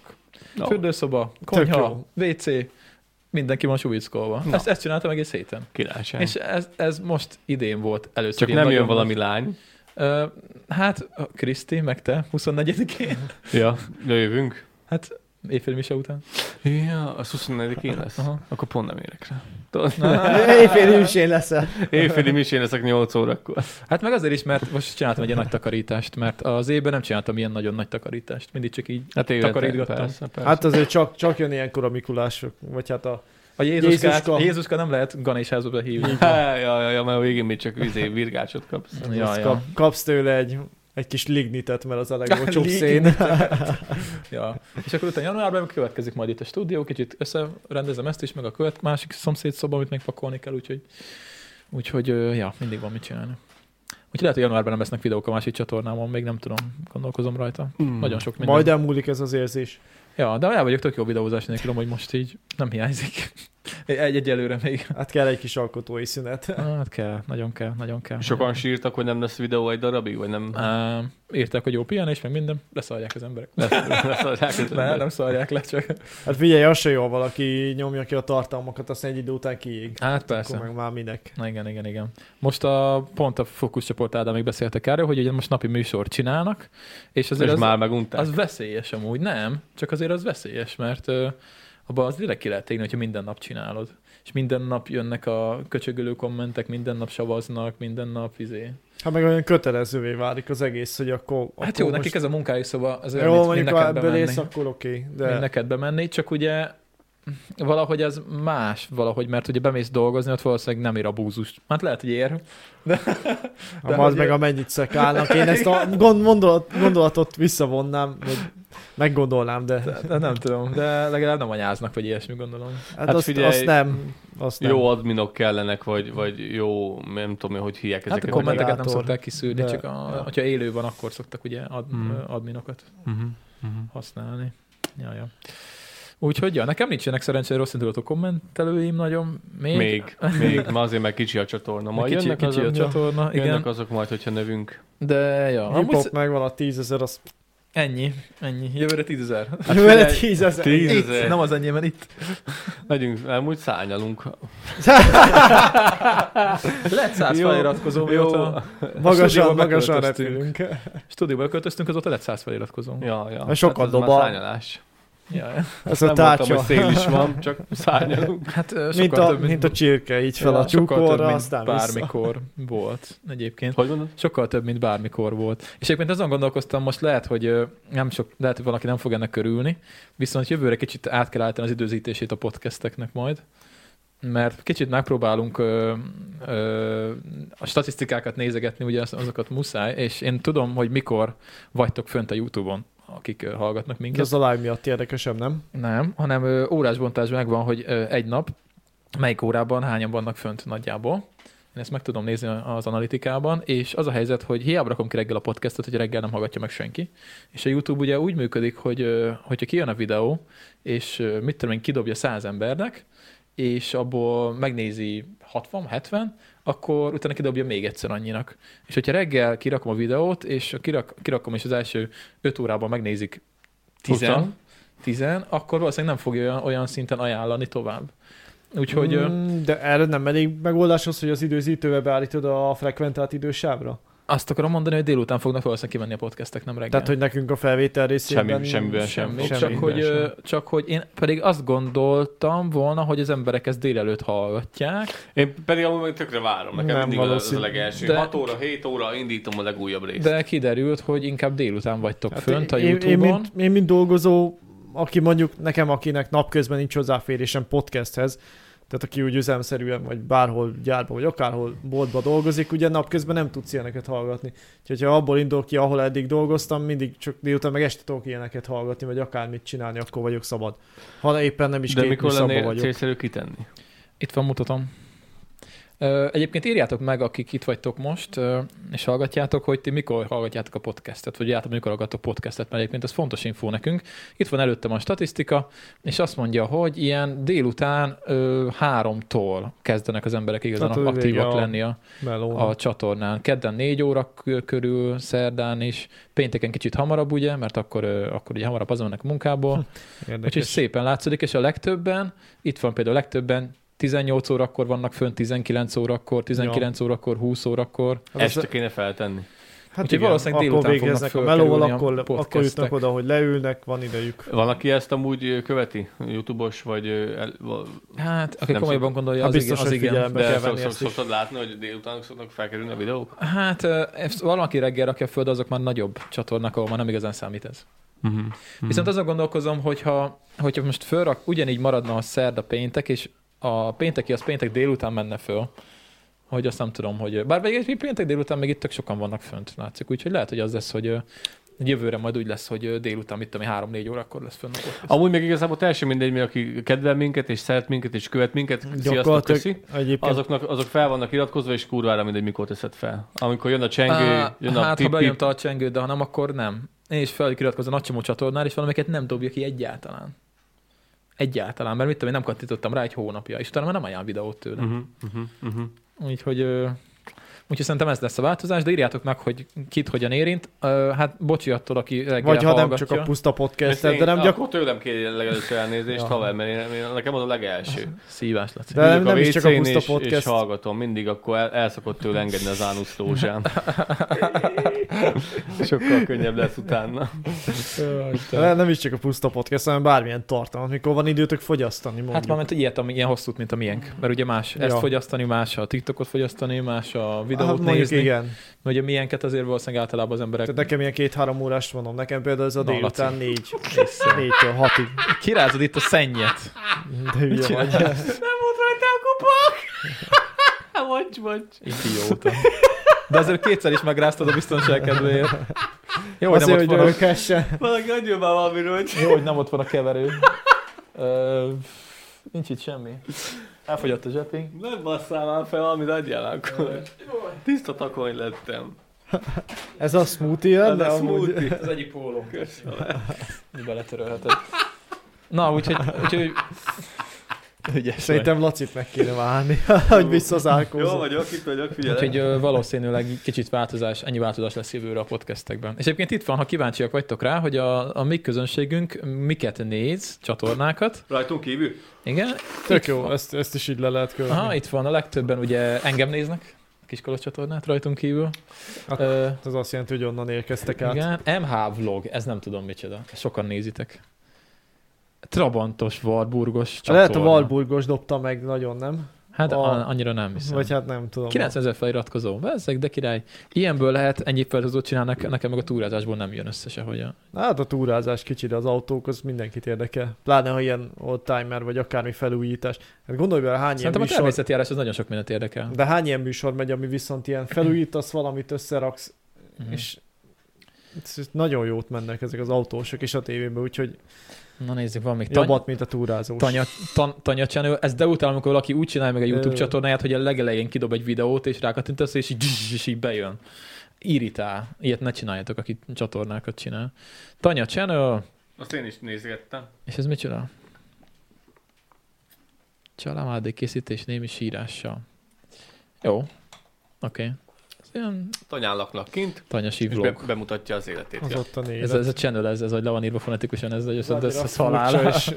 C: No.
B: Fürdőszoba,
A: jó.
B: konyha, WC, mindenki van súlyickolva.
C: Na.
B: Ezt, ezt csináltam egész héten.
C: Királyság.
B: És ez, ez most idén volt először.
C: Csak
B: ilyen
C: nem jön
B: nagyon-
C: valami lány.
B: Ö, hát, a Kriszti, meg te, 24-én.
C: (laughs) Ja, jövünk.
B: Hát, évfél mise után.
C: Ja, az 24-én lesz.
B: Aha.
C: Akkor pont nem érek rá. Tudod?
A: Éjféli hűsén leszel.
C: (laughs) Éjféli misén leszek 8 órakor.
B: Hát meg azért is, mert most csináltam egy ilyen nagy takarítást, mert az évben nem csináltam ilyen nagyon nagy takarítást. Mindig csak így
C: Hát évente,
B: Takarítgattam.
C: Persze, persze.
A: Hát
C: Hát,
A: azért csak, csak jön ilyenkor a Mikulás, vagy hát a...
B: A Jézuskát,
A: Jézuska.
B: Jézuska. Jézuska nem lehet Ganésházba hívni.
C: ja, ja, ja, mert a végén még csak izé, virgácsot kapsz.
B: ja,
A: azt
B: ja.
A: kap, kapsz tőle egy, egy kis lignitet, mert az a
B: (laughs)
A: legolcsóbb szén.
B: Lignitet. ja. És akkor utána januárban következik majd itt a stúdió, kicsit összerendezem ezt is, meg a követ, másik szomszéd szoba, amit még pakolni kell, úgyhogy, úgyhogy ö, ja, mindig van mit csinálni. Úgyhogy lehet, hogy januárban nem lesznek videók a másik csatornámon, még nem tudom, gondolkozom rajta.
C: Mm.
B: Nagyon sok minden.
A: Majd elmúlik ez az érzés.
B: Ja, de el vagyok tök jó videózás nélkül, hogy most így nem hiányzik. (laughs) Egy egyelőre még.
A: Hát kell egy kis alkotói szünet.
B: Hát kell, nagyon kell, nagyon kell.
C: Sokan sírtak, hogy nem lesz videó egy darabig, vagy nem?
B: Uh, írták, hogy jó pihenés, meg minden, leszarják az (laughs) emberek.
C: Lesz, lesz a rákötő.
B: Ne, nem szarják le, csak.
A: Hát figyelj, az se jó, ha valaki nyomja ki a tartalmakat, aztán egy idő után kiég.
B: Hát
A: Akkor
B: persze.
A: meg már minek.
B: Na igen, igen, igen. Most a, pont a fókuszcsoport Ádám még beszéltek erről, hogy ugye most napi műsort csinálnak, és azért
C: És
B: az,
C: már megunták.
B: az veszélyes amúgy, nem, csak azért az veszélyes, mert ö, abban az direkt ki lehet égni, hogyha minden nap csinálod. És minden nap jönnek a köcsögölő kommentek, minden nap savaznak, minden nap izé.
A: Hát meg olyan kötelezővé válik az egész, hogy akkor...
B: Hát
A: akkor
B: jó, nekik ez a munkájuk, szóval az
A: Jó,
B: olyan, mint, mint
A: mondjuk ha
B: neked
A: ebből ész,
B: bemenni.
A: akkor oké,
B: De...
A: de...
B: Neked bemenni, csak ugye valahogy ez más valahogy, mert ugye bemész dolgozni, ott valószínűleg nem ír a búzust. Hát lehet, hogy ér,
A: Ha az
B: De hogy-
A: meg amennyit szekálnak,
B: (laughs)
A: én ezt a gond, gondolat, gondolatot visszavonnám, vagy meggondolnám, de
B: De, de Hát, nem tudom, de legalább nem anyáznak, vagy ilyesmi gondolom.
A: hát,
C: Hát
A: azt,
C: figyelj,
A: azt
B: mm,
A: nem. Azt nem.
C: Jó adminok kellenek, vagy, vagy jó, nem tudom én, hogy hívják
B: Hát
C: ezeket.
B: a kommenteket nem
A: generátor.
B: szokták kiszűrni,
A: De-
B: de, csak a,
A: ja.
B: hogyha élő van, akkor szoktak ugye ad,
C: Mhm.
B: mm. adminokat
C: Uh-huh.
B: mhm.
C: Uh-huh.
B: használni. Ja, ja. Úgyhogy ja, nekem nincsenek szerencsére rossz indulatú kommentelőim nagyon még.
C: Még, még, mert azért meg kicsi a csatorna.
B: Na,
C: Majd
B: kicsi,
C: jönnek,
B: kicsi
C: azok,
B: a csatorna,
C: jönnek
B: igen. Hát
C: azok majd, hogyha növünk.
B: De ja, amúgy
A: Hip-hop
B: sz-
A: megvan a tízezer, az...
B: ennyi, ennyi. Jövőre tízezer.
A: Hát Jövőre
C: figyelj,
A: tízezer.
C: tíz-
B: Itt,
C: Tízezer.
B: nem az enyém, mert itt. (laughs)
C: Megyünk, elmúlt szárnyalunk.
B: Lett száz
C: Jó,
B: feliratkozó, mióta
A: Magasan,
B: stúdióba
A: magasan
B: beköltöztünk.
A: repülünk.
B: stúdióba költöztünk, azóta lett száz feliratkozó.
C: Ja, ja.
A: Na, sokat
C: hát ez már
A: dobál.
C: Szárnyalás.
B: Ja, ja.
A: Ez a
C: Nem mondtam,
A: tárcsa.
C: hogy szél (laughs) is van,
B: (laughs)
C: csak szárnyalunk.
B: Hát ö, sokkal
A: Mint a,
B: több,
A: mint a csirke, így fel
B: Ja,
A: a
B: sokkal több,
A: tyúkorra,
B: mint
A: aztán vissza.
B: bármikor volt egyébként.
C: Hogy mondod?
B: Sokkal több, mint bármikor volt. És egyébként azon gondolkoztam, most lehet, hogy ö, nem sok, lehet, hogy valaki nem fog ennek körülni, viszont jövőre kicsit át kell állítani az időzítését a podcasteknek majd, mert kicsit megpróbálunk ö, ö, a statisztikákat nézegetni, ugye az- azokat muszáj, és én tudom, hogy mikor vagytok fönt a YouTube-on, akik ö, hallgatnak minket.
A: Ez a live miatt érdekesem, nem?
B: Nem, hanem ö, órásbontás megvan, hogy ö, egy nap melyik órában hányan vannak fönt nagyjából, Én ezt meg tudom nézni az analitikában, és az a helyzet, hogy hiába rakom ki reggel a podcastot, hogy reggel nem hallgatja meg senki. És a YouTube ugye úgy működik, hogy ö, hogyha kijön a videó, és ö, mit tudom én, kidobja száz embernek, és abból megnézi 60-70, akkor utána kidobja még egyszer annyinak. És hogyha reggel kirakom a videót, és kirak, kirakom, és az első 5 órában megnézik 10,
C: Huszan.
B: 10 akkor valószínűleg nem fogja olyan, olyan szinten ajánlani tovább. Úgyhogy mm.
A: Mm, de erre nem elég megoldás az, hogy az időzítőbe beállítod a frekventált idősávra?
B: azt akarom mondani, hogy délután fognak valószínűleg kimenni a podcastek, nem reggel.
A: Tehát, hogy nekünk a felvétel részében...
C: Semmi- semmivel sem.
B: semmi,
A: semmi
B: csak, hogy,
A: sem.
B: ö, csak hogy én pedig azt gondoltam volna, hogy az emberek ezt délelőtt hallgatják.
C: Én pedig amúgy meg tökre várom, nekem
A: Nem
C: nem mindig az, az a
A: valószínű.
C: legelső.
B: De-
C: 6 óra, 7 óra indítom a legújabb részt.
B: De kiderült, hogy inkább délután vagytok hát fönt a
A: én-
B: YouTube-on.
A: Én, én, mint, én, mint dolgozó, aki mondjuk nekem, akinek napközben nincs hozzáférésem podcasthez, tehát aki úgy üzemszerűen, vagy bárhol gyárba, vagy akárhol boltba dolgozik, ugye napközben nem tudsz ilyeneket hallgatni. Úgyhogy ha abból indul ki, ahol eddig dolgoztam, mindig csak délután meg este tudok ilyeneket hallgatni, vagy akármit csinálni, akkor vagyok szabad. Ha éppen nem is
C: De
A: két
C: mikor
A: műszakban
C: lennél
A: vagyok.
C: célszerű kitenni?
B: Itt van, mutatom. Ö, Egyébként írjátok meg, akik itt vagytok most, ö, és hallgatjátok, hogy ti mikor hallgatjátok a podcastet, vagy általában mikor hallgatok podcastet, mert egyébként ez fontos infó nekünk. Itt van előttem a statisztika, és azt mondja, hogy ilyen délután ö, háromtól kezdenek az emberek igazán
A: Tehát, hogy
B: aktívak
A: vége a-
B: lenni a,
A: Melónak.
B: a csatornán. Kedden négy óra k- körül, szerdán is, pénteken kicsit hamarabb ugye, mert akkor, ö, akkor ugye hamarabb hazamennek a munkából, Úgyhogy
A: Érdekes.
B: szépen látszódik, és a legtöbben, itt van például a legtöbben, 18 órakor vannak fönt, 19 órakor, 19 órakor, 20 órakor.
A: Hát az-
C: Este kéne feltenni.
A: Hát
B: Úgyhogy
A: igen,
B: valószínűleg
A: akkor
B: délután fognak
A: végeznek a
B: fölkerülni
A: melóval,
B: a
A: akkor, akkor
B: podcastek.
A: jutnak oda, hogy leülnek, van idejük.
C: Van, aki ezt amúgy ö, követi? Youtube-os vagy... ö, El, va-
B: Hát, aki
C: Nem
B: komolyan gondolja,
A: Hát
B: az
A: biztos,
B: igen, az
A: hogy
B: igen.
A: figyelem. Be
C: de
A: kell
C: szok,
A: venni
C: szok,
A: ezt is.
C: szoktad látni, hogy délután szoknak felkerülni a videók?
B: Hát, ö, ezt valaki reggel rakja föld, azok már nagyobb csatornák, ahol már nem igazán számít ez.
A: Mhm.
C: Mm-hmm.
B: Viszont azon gondolkozom, hogyha, hogyha most fölrak, ugyanígy maradna a szerda péntek, és a pénteki az péntek délután menne föl, hogy azt nem tudom, hogy... Bár még egy péntek délután még itt tök sokan vannak fönt, látszik. Úgyhogy lehet, hogy az lesz, hogy ö, jövőre majd úgy lesz, hogy ö, délután, mit tudom, én, három-négy órakor lesz fönn a podcast.
C: Amúgy még igazából teljesen mindegy, mi aki kedvel minket, és szeret minket, és követ minket, sziasztok, köszi.
A: egyébként
C: Azoknak, azok fel vannak iratkozva, és kurvára mindegy, mikor teszed fel. Amikor jön a csengő,
B: Á,
C: jön a
B: hát, ha
C: pip, pip,
B: benyomta a csengőt, de ha nem, akkor nem. Én is feliratkozom a nagycsomó csatornál, és valamiket nem dobja ki egyáltalán. Egyáltalán, mert mit tudom, én nem kattintottam rá egy hónapja, és utána már nem ajánl videót tőle.
C: Uh-huh, uh-huh, uh-huh.
B: Úgyhogy, ö, úgyhogy szerintem ez lesz a változás, de írjátok meg, hogy kit hogyan érint. Ö, Hát bocsi attól, aki reggel
A: Vagy ha nem
B: hallgatja.
A: csak a puszta
C: Ezt
A: podcastet,
C: én,
A: de nem, gyakor-
C: Akkor tőlem kérjen legelőször elnézést,
A: Ja.
C: haver, mert én, én, nekem az a legelső.
B: Szívás lett.
A: De nem-
C: Ülök a
A: nem is csak a
C: WC-n,
A: puszta
C: és, És
A: podcast.
C: hallgatom, mindig akkor el, el szokott tőle engedni az ánusz lózsám. Sokkal könnyebb lesz utána.
B: Hát
A: de nem is csak a puszta podcast, hanem bármilyen tartalmat, mikor van időtök fogyasztani mondjuk.
B: Hát már ment egy ilyet, ami ilyen hosszút, mint a miénk. Mert ugye más ezt
A: Ja.
B: fogyasztani, más a TikTokot fogyasztani, más a videót
A: Hát
B: hát,
A: mondjuk
B: nézni. Igen.
A: igen.
B: Mert ugye miénket azért valószínűleg általában az emberek
A: Tehát nekem ilyen két-három órás vonom. Nekem például ez a
B: Na,
A: délután
B: Laci.
A: négy. Négytől hatig.
B: kirázod itt a szennyet.
A: De hülye vagy.
C: Nem volt rajta a kupak! (laughs) Bocs, bocs.
B: Idióta. De azért kétszer is megráztad a biztonság kedvéért. Jó, hogy nem,
A: Azért,
B: ott
A: hogy
B: van a,
A: röghessen.
C: Valaki adjon már valamiről, hogy...
B: jó, hogy nem ott van a keverő. Ö, nincs itt semmi. Elfogyott a zsepink.
C: Nem basszál már fel, amit adjál akkor. Tiszta takony lettem.
A: Ez a smoothie de
C: a
A: amúgy...
C: smoothie.
B: Ez egyik póló. Beletörölheted. Na, úgyhogy... úgyhogy... Ügyes vagy.
A: Szerintem Lacit meg kéne válni, (laughs) hogy
C: Jó
A: visszazárkózzon.
C: vagyok, itt vagyok,
B: Úgyhogy
C: figyelj.
B: ö, valószínűleg kicsit változás, ennyi változás lesz jövőre a podcastekben. És egyébként itt van, ha kíváncsiak vagytok rá, hogy a, a mi közönségünk miket néz, csatornákat.
C: Rajtunk kívül?
B: Igen.
A: Tök
B: itt
A: jó,
B: Van.
A: ezt, ezt is így le lehet követni.
B: Aha, itt van a legtöbben, ugye engem néznek, a Kiskolos csatornát rajtunk kívül.
A: Ak-
B: Ö,
A: Ez azt jelenti, hogy onnan érkeztek át.
B: Igen, MH vlog, ez nem tudom micsoda. Sokan nézitek. Trabantos, Warburgos csatorna.
A: Lehet a Valburgos dobta meg nagyon, nem?
B: Hát
A: a-
B: a... annyira nem hiszem.
A: Vagy hát nem tudom.
B: 90 ezer feliratkozó, ezek, de király. Ilyenből lehet ennyi feliratkozót csinálnak, nekem meg a túrázásból nem jön össze sehogyan.
A: Na, Hát a túrázás kicsi, de az autók, az mindenkit érdekel. Pláne, ha ilyen old timer, vagy akármi felújítás. Hát gondolj bele, hány ilyen
B: Szerintem a
A: műsor...
B: természetjárás az nagyon sok mindent érdekel.
A: De hány ilyen műsor megy, ami viszont ilyen felújítasz, valamit összeraksz,
B: Mhm.
A: és nagyon jót mennek ezek az autósok és a tévében, úgyhogy
B: Na nézzük, van még tanya,
A: jobbat, mint a túrázós.
B: tanya, tan, tanya channel. Ez de utána, amikor valaki úgy csinálja meg a YouTube
A: Ö.
B: csatornáját, hogy a legelején kidob egy videót, és rákattintasz, és így, és így bejön. Irritál. Ilyet ne csináljatok, aki csatornákat csinál. Tanya channel.
C: Azt én is nézgettem.
B: És ez mit csinál? Családi készítés némi sírással. Jó. Oké. Okay. Ez ilyen
C: Tanyán laknak kint,
B: tanyasi
C: és be,
B: vlog.
C: bemutatja az életét.
A: Az
C: Ja.
A: ott a név.
B: Ez, ez a channel, ez, ez, hogy le van írva fonetikusan, ez, ez, ez, ez
A: Furcsa,
B: (laughs) halál.
A: és-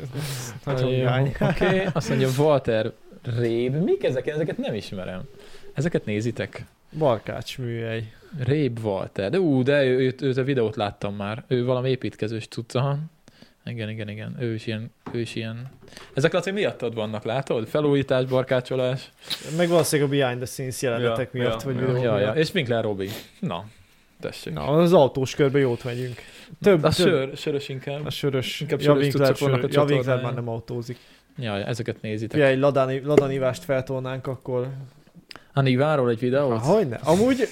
A: Hát, Nagyon
B: Jó,
A: gány.
B: Oké, okay. azt mondja Walter Réb. Mik ezek? Én ezeket nem ismerem. Ezeket nézitek.
A: Barkács műhely.
B: Réb Walter. De ú, de ő, őt, őt a videót láttam már. Ő valami építkezős cucca. Igen, igen, igen. Ő is ilyen, ő is ilyen. Ezek Laci miattad vannak, látod? Felújítás, barkácsolás.
A: Meg valószínűleg a behind the scenes jelenetek
C: Ja,
A: miatt,
C: ja,
A: vagy
C: ja.
A: videó
B: Ja, ja.
A: miatt.
B: És Winkler Robi. Na, tessék.
A: Na, az autós körbe jót megyünk. Több,
B: a
A: több.
B: sör, sörös inkább.
A: A sörös.
B: Inkább
A: Ja,
B: sörös
A: Winkler,
B: cuccok vannak a
A: sör, ja, Winkler
B: csatornán.
A: már nem autózik.
B: Ja, ja, ezeket nézitek.
A: Fia, egy ladán, ladanívást feltolnánk, akkor...
B: A Niváról egy videót?
A: Há, Hogyne? Amúgy,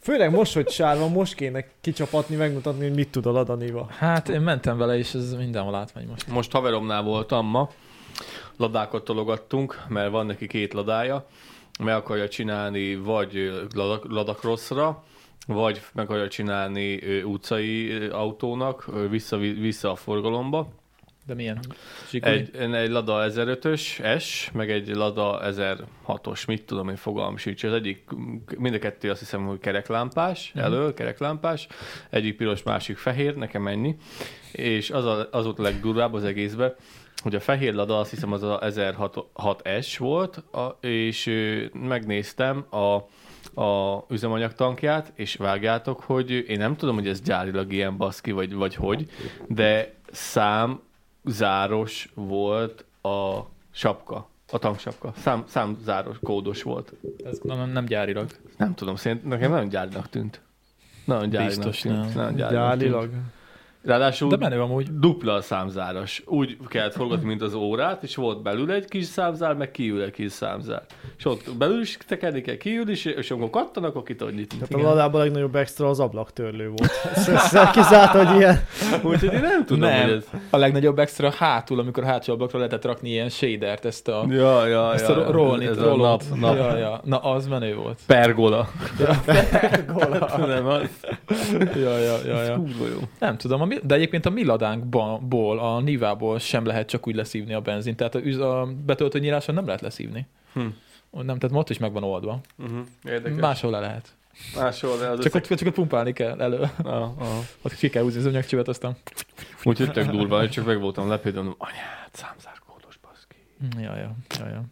A: főleg most, hogy sárva, most kéne kicsapatni, megmutatni, hogy mit tud a ladaníva.
B: Hát én mentem vele, és ez mindenhol átmegy most.
C: Most haveromnál voltam ma, ladákat tologattunk, mert van neki két ladája, meg akarja csinálni vagy ö, ladak, ladakrosszra, vagy meg akarja csinálni ö, utcai ö, autónak, ö, vissza, vissza a forgalomba.
B: De milyen? Zsikuni?
C: Egy, egy Lada 1005-ös S, meg egy Lada 1006-os, mit tudom én, fogalmam sincs. Az egyik, mind a kettő azt hiszem, hogy kereklámpás,
B: Mhm.
C: elől kereklámpás, egyik piros, másik fehér, nekem ennyi. És az, a, az volt a legdurvább az egészben, hogy a fehér Lada azt hiszem az a 1006S volt, a, és ö, megnéztem a a üzemanyagtankját, és vágjátok, hogy én nem tudom, hogy ez gyárilag ilyen baszki, vagy, vagy hogy, de szám záros volt a sapka, a tanksapka. Szám, szám záros, kódos volt.
B: Ez nem, nem gyárilag.
C: Nem tudom, szerintem nekem nagyon gyárinak tűnt. Nagyon gyárinak
B: Biztos
C: tűnt.
B: nem.
C: Nagyon gyárinak
A: Gyálilag.
C: Tűnt. Ráadásul
B: De menő amúgy.
C: dupla a számzáros. Úgy kellett forgatni, mint az órát, és volt belül egy kis számzár, meg kívül egy kis számzár. És ott belül is tekerni kell, kívül is, és amikor kattan, akkor ki tudod nyitni.
A: Tehát
B: Igen.
A: Hát a ladában a legnagyobb extra az ablaktörlő volt. Ezt, ezt kizárt, hogy ilyen.
C: Úgyhogy én nem tudom,
B: Nem.
C: hogy ez...
B: A legnagyobb extra hátul, amikor a hátsó ablakra lehetett rakni ilyen shadert, ezt a,
C: Ja, ja,
B: ezt
C: ja,
B: a rollnit,
C: ez a nap,
B: rollot.
C: nap.
B: Ja, ja. Na, az menő volt.
C: Pergola.
B: Gola.
C: nem az.
B: ja, ja, ja, ja.
C: Kurva jó.
B: Nem tudom, a mi- de egyébként a mi ladánkból, a Nivából sem lehet csak úgy leszívni a benzint, tehát a, üz- a betöltőnyíláson nem lehet leszívni.
C: Hm.
B: Ott Nem, tehát ott is meg van oldva.
C: Uh-huh. Érdekes.
B: Máshol le lehet.
C: Máshol, de az
B: Csak ott, csak ott pumpálni kell elő.
C: Ah, ah.
B: Ott ki kell húzni az anyagcsövet, aztán...
C: Úgyhogy tök durva, én csak meg voltam lepődve, mondom, anyád, számzárkódos baszki.
B: Ja, ja, ja, ja.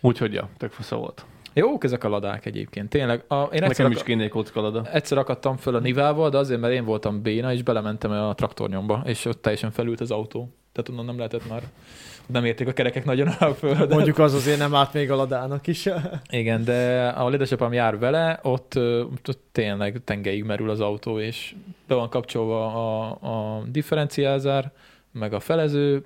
C: Úgyhogy ja, tök fasza volt.
B: Jók ezek a ladák egyébként, tényleg. A, én egyszer,
C: Nekem
B: ak-
C: is kéne egy kockalada.
B: egyszer akadtam föl a Nivával, de azért, mert én voltam béna, és belementem a traktornyomba, és ott teljesen felült az autó. Tehát onnan nem lehetett már, nem érték a kerekek nagyon a földet.
A: Mondjuk az azért nem árt még a ladának is.
B: Igen, de ahol édesapám jár vele, ott, ö, ott tényleg tengeig merül az autó, és be van kapcsolva a, a differenciázár, meg a felező,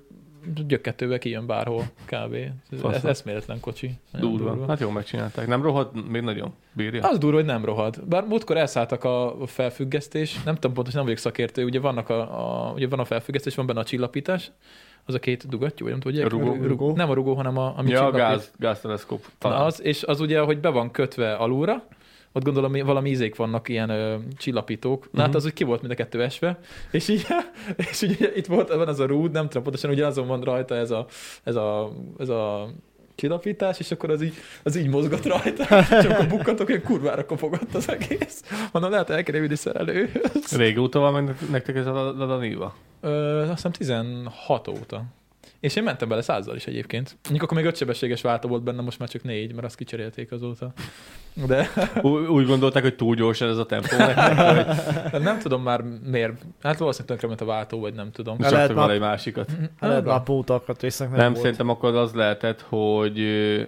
B: gyökketőbe kijön bárhol kb. Ez- Ez
C: Faszom.
B: eszméletlen kocsi. Nagyon
C: Durva. Hát jól megcsinálták. Nem rohadt, még nagyon bírja.
B: Az durva, hogy nem rohad. Bár múltkor elszálltak a a felfüggesztés, nem tudom pontosan, nem vagyok szakértő, ugye, vannak a, a, ugye van a felfüggesztés, van benne a csillapítás, az a két dugattyú, vagy nem tudom, hogy
C: Rugó.
A: Rugó.
B: Nem a rugó, hanem a, ami
C: Ja, a
B: csillapít.
C: gáz, gázteleszkóp.
B: Na
C: Talán.
B: az, és az ugye, hogy be van kötve alulra, ott gondolom mi- valami ízék vannak, ilyen ö, csillapítók. Na hát
C: Mhm.
B: az úgy ki volt mind a kettő esve, és így, (laughs) és ugye itt volt, van az a rúd, nem tudom pontosan, ugye azon van rajta ez a, ez a, ez a csillapítás, és akkor az így, az így mozgott
C: (laughs)
B: rajta, és akkor bukkantok, hogy kurvára kopogott az egész. Mondom, lehet el kell jövődni szerelőhöz.
C: Régóta van meg nektek ez a Ladaníva?
B: Ö, azt hiszem 16 óta. És én mentem bele százzal is egyébként. Mondjuk akkor még ötsebességes váltó volt benne, most már csak négy, mert azt kicserélték azóta. De
C: Ú- Úgy gondolták, hogy túl gyors ez a
B: (laughs)
C: tempó nektek, hogy
B: Hát nem tudom már miért. Hát valószínűleg tönkre a váltó, vagy nem tudom. Hát,
A: Hát
C: csak
A: lehet
C: hogy
A: már-
C: van egy másikat.
A: Lehet Hát már pótakat résznek nem,
C: Nem,
A: volt.
C: szerintem akkor az lehetett, hogy ö,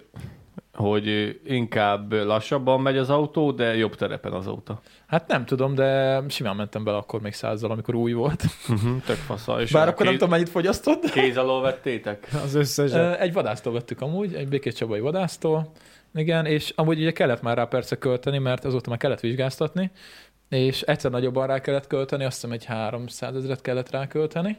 C: hogy ö, inkább lassabban megy az autó, de jobb terepen azóta.
B: Hát nem tudom, de simán mentem bele akkor még százzal, amikor új volt.
C: Uh-huh. Tök fasza. És
B: Bár
C: a
B: akkor nem
C: kéz-
B: tudom, mennyit fogyasztott.
C: Kéz alól vettétek?
A: Az összes.
B: Ö, Egy vadásztól vettük amúgy, egy Békés Csabai vadásztól. Igen, és amúgy ugye kellett már rá persze költeni, mert azóta már kellett vizsgáztatni, és egyszer nagyobban rá kellett költeni, azt hiszem egy 300 ezeret kellett rá költeni,